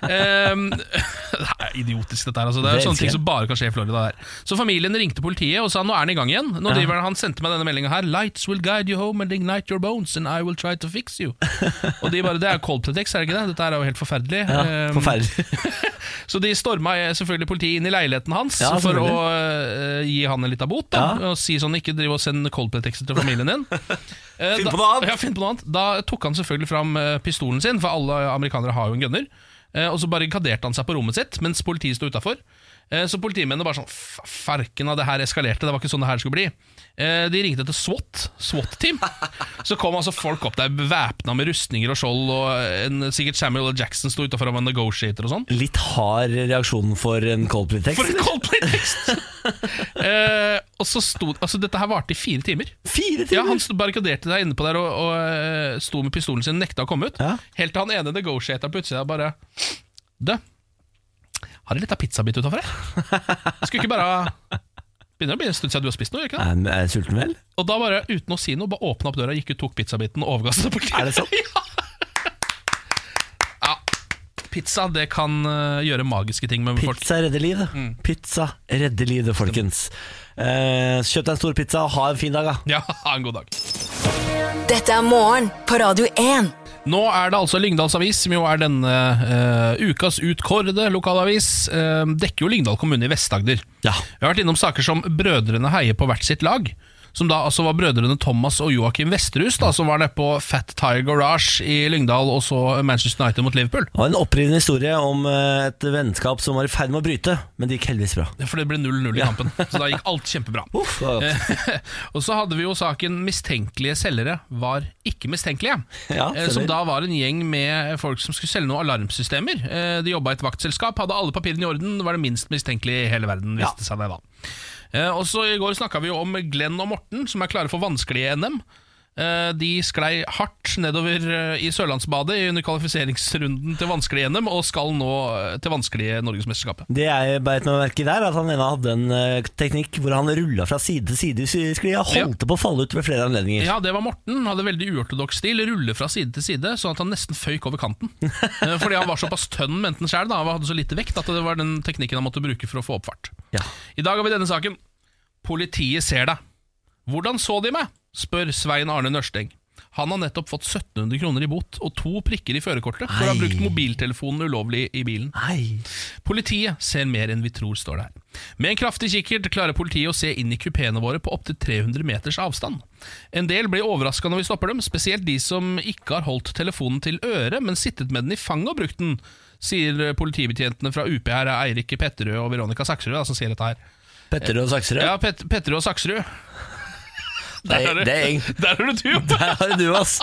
[SPEAKER 3] Ehm, <laughs> det er idiotisk, dette her. Altså. Det er
[SPEAKER 2] Det
[SPEAKER 3] sånne
[SPEAKER 2] elsker
[SPEAKER 3] ting
[SPEAKER 2] jeg.
[SPEAKER 3] som bare kan skje i Florida. Der. Så familien ringte politiet og sa nå er han i gang igjen. Nå driver han, han sendte meg denne meldinga her. 'Lights will guide you home and ignite your bones, and I will try to fix
[SPEAKER 2] <laughs>
[SPEAKER 3] you'. og de bare, Det er Coldplay-tekst, er det ikke det? Dette her er jo helt forferdelig.
[SPEAKER 2] Ja,
[SPEAKER 3] Ehm,
[SPEAKER 2] forferdelig. <laughs>
[SPEAKER 3] så de storma eh, selvfølgelig politiet inn i leiligheten hans
[SPEAKER 2] Ja,
[SPEAKER 3] for å
[SPEAKER 2] selvfølgelig.
[SPEAKER 3] eh, gi han en lita bot. Da, Og si sånn, ikke driv og send Coldplay-tekster til familien
[SPEAKER 2] <laughs>
[SPEAKER 3] din. Eh,
[SPEAKER 2] Finn
[SPEAKER 3] da-
[SPEAKER 2] på noe annet.
[SPEAKER 3] Ja, finn på noe annet. Da tok han selvfølgelig fram eh, pistolen sin, for alle amerikanere har jo en gunner. Eh, og så barrikaderte han seg på rommet sitt, mens politiet sto utafor. Eh, så politimennene bare sånn "F- Farken av det her eskalerte, det var ikke sånn det her skulle bli. Eh, de ringte til SWAT, SWAT-team. Så kom altså folk opp der væpna med rustninger og skjold, og eh, en, sikkert Samuel L. Jackson sto utafor og var negotiator og sånn.
[SPEAKER 2] Litt hard reaksjon for en Coldplay-tekst.
[SPEAKER 3] For en
[SPEAKER 2] eller?
[SPEAKER 3] Coldplay-tekst! <laughs> Eh, Eh, og så sto, altså Dette her varte i fire timer.
[SPEAKER 2] Fire
[SPEAKER 3] Ja,
[SPEAKER 2] timer!
[SPEAKER 3] Han sto- barrikaderte seg inne på der og, og eh, sto med pistolen sin, nekta å komme ut.
[SPEAKER 2] Ja.
[SPEAKER 3] Helt til han ene negotiata på utsida bare Du, har du litt av pizzabit utafor her? Skulle ikke bare Begynner å bli en stund siden du har spist noe, gjør ikke det?
[SPEAKER 2] Er han- er han sulten vel?
[SPEAKER 3] Og da bare, uten å si noe, bare åpna opp døra, gikk ut, tok pizzabiten og overga seg. på
[SPEAKER 2] Er
[SPEAKER 3] kvelden.
[SPEAKER 2] det
[SPEAKER 3] <laughs>
[SPEAKER 2] sant?
[SPEAKER 3] Ja. Pizza det kan eh, gjøre magiske ting med folk.
[SPEAKER 2] Pizza redder livet. Pizza redder livet, folkens. Eh, kjøp deg en stor pizza og ha en fin dag, da.
[SPEAKER 3] Ja, <laughs> ha en god dag.
[SPEAKER 4] Dette er morgen på Radio 1.
[SPEAKER 3] Nå er det altså Lyngdals Avis, som jo er denne eh, ukas utkårede lokalavis. eh, dekker jo Lyngdal kommune i Vest-Agder.
[SPEAKER 2] Ja.
[SPEAKER 3] Vi har vært innom saker som Brødrene heier på hvert sitt lag. Som da altså var brødrene Thomas og Joakim Vesterhus, da, som var nede på Fat Tire Garage i Lyngdal, og så Manchester United mot Liverpool.
[SPEAKER 2] Det var en opprivende historie om eh, et vennskap som var i ferd med å bryte, men det gikk heldigvis bra.
[SPEAKER 3] For det ble 0-0 i kampen, så da gikk alt kjempebra.
[SPEAKER 2] Uff, det var godt.
[SPEAKER 3] <laughs> og så hadde vi jo saken 'Mistenkelige selgere var ikke mistenkelige'.
[SPEAKER 2] Ja,
[SPEAKER 3] eh, som
[SPEAKER 2] stemmer.
[SPEAKER 3] da var en gjeng med folk som skulle selge noen alarmsystemer. Eh, de jobba i et vaktselskap, hadde alle papirene i orden, var det minst mistenkelige i hele verden. viste seg det da. Eh, og så I går snakka vi jo om Glenn og Morten, som er klare for vanskelige NM. Eh, De sklei hardt nedover eh, i Sørlandsbadet under kvalifiseringsrunden til vanskelige NM, og skal nå eh, til vanskelige Norgesmesterskapet.
[SPEAKER 2] Det jeg beit meg merke i der, er at han ene hadde en eh, teknikk hvor han rulla fra side til side i sklia og holdt på å falle ut ved flere anledninger.
[SPEAKER 3] Ja, det var Morten. Han Hadde veldig uortodoks stil. Rulle fra side til side, sånn at han nesten føyk over kanten. Eh, Fordi han var såpass tønn, mente han sjøl. Han hadde så lite vekt at det var den teknikken han måtte bruke for å få opp fart.
[SPEAKER 2] Ja.
[SPEAKER 3] I dag har vi denne saken. Politiet ser deg. Hvordan så de meg? spør Svein Arne Nørsteng. Han har nettopp fått 1700 kroner i bot og to prikker i førerkortet for å ha
[SPEAKER 2] Ei.
[SPEAKER 3] brukt mobiltelefonen ulovlig i bilen.
[SPEAKER 2] Nei.
[SPEAKER 3] Politiet ser mer enn vi tror, står det her. Med en kraftig kikkert klarer politiet å se inn i kupeene våre på opptil 300 meters avstand. En del blir overraska når vi stopper dem, spesielt de som ikke har holdt telefonen til øret, men sittet med den i fanget og brukt den, sier politibetjentene fra UP her, Eirik Petterød og Veronica Saksrud, da, som sier dette her.
[SPEAKER 2] Petterød og Sakserød.
[SPEAKER 3] Ja, Pet Petterød og Saksrud.
[SPEAKER 2] det,
[SPEAKER 3] er
[SPEAKER 2] er, det er eng.
[SPEAKER 3] Der er det du!
[SPEAKER 2] Der har du, ass.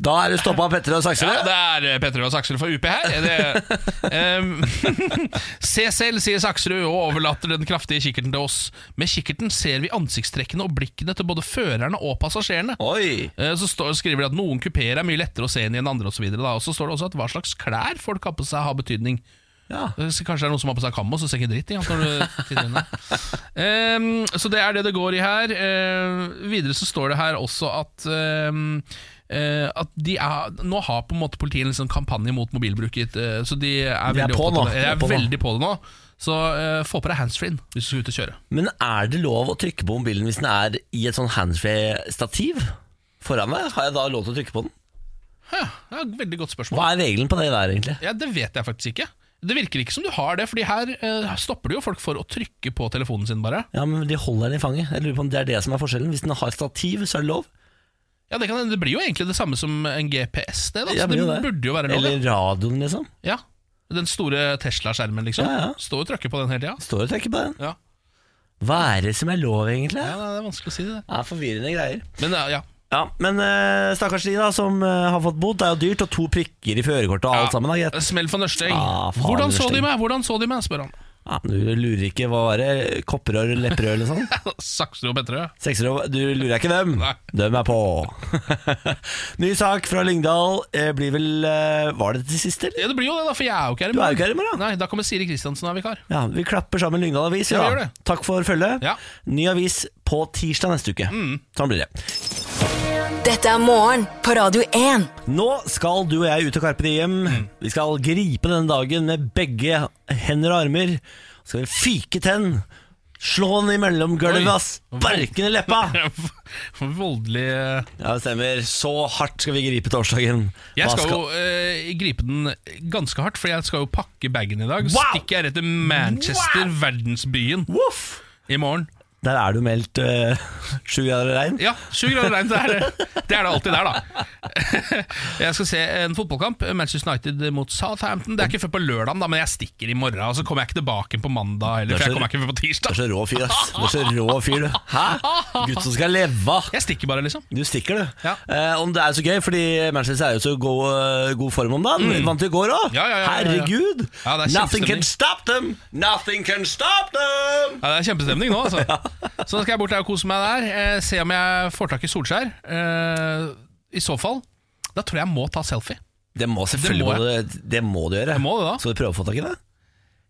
[SPEAKER 2] Da er du stoppa av Petterød og
[SPEAKER 3] Ja,
[SPEAKER 2] Sakserød.
[SPEAKER 3] det er eh, Petter og Saksrud fra UP her. Er Det, Ehm, <laughs> se selv, sier Saksrud og overlater den kraftige kikkerten til oss. Med kikkerten ser vi ansiktstrekkene og blikkene til både førerne og passasjerene.
[SPEAKER 2] Oi.
[SPEAKER 3] Eh, Så står, skriver de at noen kupeer er mye lettere å se inn i enn andre, og så, videre, da. og så står det også at hva slags klær folk har på seg, har betydning.
[SPEAKER 2] Ja.
[SPEAKER 3] Eh, Så kanskje det er noen som har på seg kammo, så ser ikke dritt i. han, når du titter
[SPEAKER 2] <laughs>
[SPEAKER 3] inn der. Ehm, så det er det det går i her. Ehm, videre så står det her også at ehm, eh, at de er, Nå har på en måte politiet en sånn kampanje mot mobilbruk. i et, eh, Så de er,
[SPEAKER 2] De er
[SPEAKER 3] veldig
[SPEAKER 2] på
[SPEAKER 3] opptatt
[SPEAKER 2] nå.
[SPEAKER 3] av det.
[SPEAKER 2] De
[SPEAKER 3] Jeg
[SPEAKER 2] er
[SPEAKER 3] er
[SPEAKER 2] på nå.
[SPEAKER 3] veldig på det nå. Så eh, få på deg handsfree hvis du skal ut og kjøre.
[SPEAKER 2] Men er det lov å trykke på mobilen hvis den er i et sånn handsfree-stativ foran meg? Har jeg da lov til å trykke på den?
[SPEAKER 3] Ja, veldig godt spørsmål.
[SPEAKER 2] Hva er regelen på det der, egentlig?
[SPEAKER 3] Ja, Det vet jeg faktisk ikke. Det virker ikke som du har det, Fordi her eh, stopper det jo folk for å trykke på telefonen sin, bare.
[SPEAKER 2] Ja, men De holder den i fanget. Jeg lurer på om Det er det som er forskjellen. Hvis den har stativ, så er det lov.
[SPEAKER 3] Ja, Det, kan, hende. det blir jo egentlig det samme som en GPS, det. da
[SPEAKER 2] Ja, det
[SPEAKER 3] Så det
[SPEAKER 2] blir jo det.
[SPEAKER 3] burde jo være lov. det.
[SPEAKER 2] Eller radioen, liksom.
[SPEAKER 3] Ja, den store Tesla-skjermen liksom
[SPEAKER 2] Ja, ja.
[SPEAKER 3] Står og trykker på den hele tiden
[SPEAKER 2] Står og trykker på den.
[SPEAKER 3] Ja.
[SPEAKER 2] Hva er det som er lov, egentlig?
[SPEAKER 3] Ja, det er vanskelig å si det der.
[SPEAKER 2] Det er forvirrende greier.
[SPEAKER 3] Men ja, ja.
[SPEAKER 2] Ja, Men eh, stakkars de da som eh, har fått bot. Det er jo dyrt, og to prikker i førerkortet og alt sammen. da, gitt.
[SPEAKER 3] Eh, Smell for Nørsteng
[SPEAKER 2] Ah, faen,
[SPEAKER 3] Hvordan så de
[SPEAKER 2] Nørsteng.
[SPEAKER 3] meg? Hvordan så de meg? Spør han <laughs>
[SPEAKER 2] Ja, du lurer ikke hva var det? Kopperør, lepperør eller
[SPEAKER 3] <laughs>
[SPEAKER 2] sånn?
[SPEAKER 3] Sakser og bedre
[SPEAKER 2] Sekserå, du lurer ikke dem.
[SPEAKER 3] Nei.
[SPEAKER 2] Dem er på. <laughs> Ny sak fra Lyngdal. Eh, blir vel eh, Var det til sist, eller?
[SPEAKER 3] Ja, det blir jo det da For jeg er jo ikke her i
[SPEAKER 2] Du er jo
[SPEAKER 3] morgen
[SPEAKER 2] ikke her i morgen, da.
[SPEAKER 3] Nei, da kommer Siri Kristiansen og er vikar <laughs>
[SPEAKER 2] Ja, vi klapper sammen Lyngdal Avis.
[SPEAKER 3] Ja,
[SPEAKER 2] Ja,
[SPEAKER 3] vi gjør det.
[SPEAKER 2] Takk for følget.
[SPEAKER 3] Ja. Mm.
[SPEAKER 2] Ny avis på tirsdag neste uke. Sånn blir det.
[SPEAKER 4] Dette er morgen på Radio 1.
[SPEAKER 2] Nå skal du og jeg ut og Carpe Diem.
[SPEAKER 3] Mm.
[SPEAKER 2] Vi skal gripe denne dagen med begge hender og armer. Så skal vi fyke tenn. Slå den imellom gulvet,
[SPEAKER 3] Oi.
[SPEAKER 2] ass. Barken i leppa.
[SPEAKER 3] Voldelig eh,
[SPEAKER 2] Ja, det stemmer. Så hardt skal vi gripe torsdagen.
[SPEAKER 3] Jeg
[SPEAKER 2] Hva
[SPEAKER 3] skal jo eh, gripe den ganske hardt For jeg skal jo pakke baggen i dag
[SPEAKER 2] Wow!
[SPEAKER 3] Stikker jeg rett til Manchester, verdensbyen
[SPEAKER 2] Voff!
[SPEAKER 3] I morgen
[SPEAKER 2] Der er det jo meldt eh, <laughs> sju grader og regn.
[SPEAKER 3] Ja, sju grader regn, det er det. Det er det alltid der, da. <laughs> Jeg skal se en fotballkamp, Manchester United mot Southampton. Det er ikke før på lørdag, men jeg stikker i morgen. Og så kommer jeg ikke tilbake på mandag heller,
[SPEAKER 2] Det er
[SPEAKER 3] for jeg
[SPEAKER 2] så-
[SPEAKER 3] kommer ikke før på
[SPEAKER 2] Du er
[SPEAKER 3] tirsdag.
[SPEAKER 2] så rå fyr, ass. Du er så rå fyr, du. Hæ? Gutt som skal leve.
[SPEAKER 3] Jeg stikker bare, liksom.
[SPEAKER 2] Du stikker, du.
[SPEAKER 3] Ja.
[SPEAKER 2] Eh, om det er så gøy, fordi Manchester er jo så god, eh, god form om dagen. Vant i går òg.
[SPEAKER 3] Mm. Ja, ja, ja, ja, ja.
[SPEAKER 2] Herregud!
[SPEAKER 3] Ja, det er
[SPEAKER 2] Nothing
[SPEAKER 3] kjempestemning.
[SPEAKER 2] can stop them! Nothing can stop them! <laughs>
[SPEAKER 3] Ja, det er kjempestemning nå, altså. Så da skal jeg bort der og kose meg der. Eh, se om jeg får tak i Solskjær. Eh, I så fall, da tror jeg jeg må ta selfie.
[SPEAKER 2] Det må selvfølgelig
[SPEAKER 3] Det må
[SPEAKER 2] må du, det må du gjøre.
[SPEAKER 3] Jeg må det da.
[SPEAKER 2] Skal du prøve å få tak i det?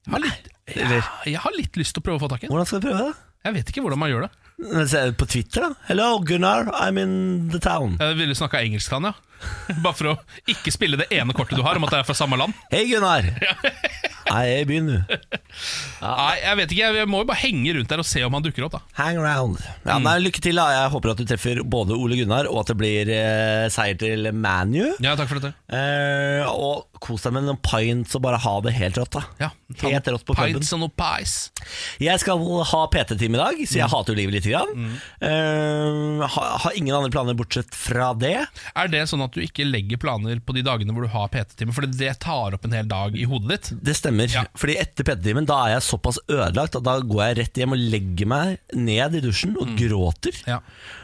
[SPEAKER 3] Jeg har litt, jeg,
[SPEAKER 2] Eller-
[SPEAKER 3] jeg har litt lyst til å prøve å få tak i den.
[SPEAKER 2] Hvordan skal du prøve det?
[SPEAKER 3] Jeg vet ikke hvordan man gjør det.
[SPEAKER 2] Men se På Twitter, da? Hello, Gunnar, I'm in the town.
[SPEAKER 3] Jeg ville snakka engelsk til han, ja. <laughs> Bare for å ikke spille det ene kortet du har om at jeg er fra samme land.
[SPEAKER 2] Hei,
[SPEAKER 3] <laughs>
[SPEAKER 2] Gunnar! Nei, jeg er i byen, du.
[SPEAKER 3] Nei, jeg vet ikke, jeg- jeg må jo bare henge rundt der og se om han dukker opp, da.
[SPEAKER 2] Hang around. Ja,
[SPEAKER 3] Mm.
[SPEAKER 2] nei, lykke til, da. Jeg håper at du treffer både Ole Gunnar, og at det blir eh, seier til ManU.
[SPEAKER 3] Ja, takk for dette.
[SPEAKER 2] Eh, og kos deg med noen pints og bare ha det helt rått, da.
[SPEAKER 3] Ja, ta
[SPEAKER 2] helt rått på puben.
[SPEAKER 3] Pints og noe pies.
[SPEAKER 2] Jeg skal ha PT-time i dag, så
[SPEAKER 3] Mm.
[SPEAKER 2] jeg hater jo livet lite grann. Eh, ha- har ingen andre planer bortsett fra det.
[SPEAKER 3] Er det sånn at du ikke legger planer på de dagene hvor du har PT-time? For det tar opp en hel dag i hodet ditt.
[SPEAKER 2] Det stemmer.
[SPEAKER 3] Ja.
[SPEAKER 2] Fordi etter PT-timen da er jeg såpass ødelagt at da går jeg rett hjem og legger meg ned i dusjen og gråter.
[SPEAKER 3] Mm. Ja.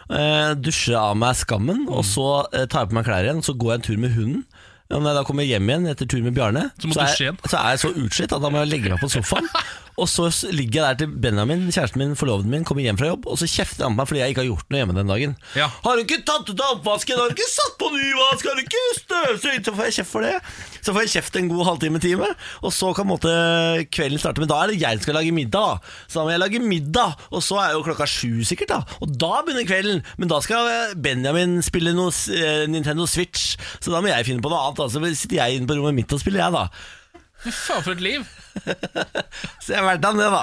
[SPEAKER 2] Eh, dusjer av meg skammen,
[SPEAKER 3] Mm.
[SPEAKER 2] og så eh, tar jeg på meg klær igjen, så går jeg en tur med hunden. Og når jeg da kommer hjem igjen etter tur med Bjarne,
[SPEAKER 3] Så må
[SPEAKER 2] er,
[SPEAKER 3] dusje igjen.
[SPEAKER 2] så er jeg så utslitt at da må jeg legge meg på sofaen. og så s- ligger jeg der til Benjamin, kjæresten min, forloveden min, kommer hjem fra jobb, og så kjefter han på meg fordi jeg ikke har gjort noe hjemme den dagen.
[SPEAKER 3] Ja.
[SPEAKER 2] Har du ikke tatt ut av oppvasken? Har du ikke satt på ny vask? Har du ikke støvsugd? Så får jeg kjeft for det. Så får jeg kjeft en god halvtime-time, og så kan på en måte kvelden starte. Men da er det jeg som skal lage middag, da. Så da må jeg lage middag, og så er jo klokka sju sikkert, da. Og da begynner kvelden. Men da skal Benjamin spille noe s- eh, Nintendo Switch, så da må jeg finne på noe annet. Da. Så sitter jeg inne på rommet mitt og spiller, jeg, da.
[SPEAKER 3] Fy faen, for et liv!
[SPEAKER 2] Så jeg har vært av det, da.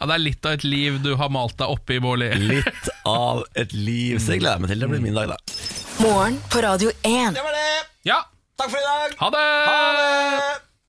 [SPEAKER 3] Ja, Det er litt av et liv du har malt deg oppi, Bårli.
[SPEAKER 2] Litt av et liv. Så jeg gleder meg til det blir min dag, da.
[SPEAKER 4] Morgen på Radio 1.
[SPEAKER 2] Det var det.
[SPEAKER 3] Ja,
[SPEAKER 2] Takk for i dag.
[SPEAKER 3] ha det!
[SPEAKER 2] Ha det.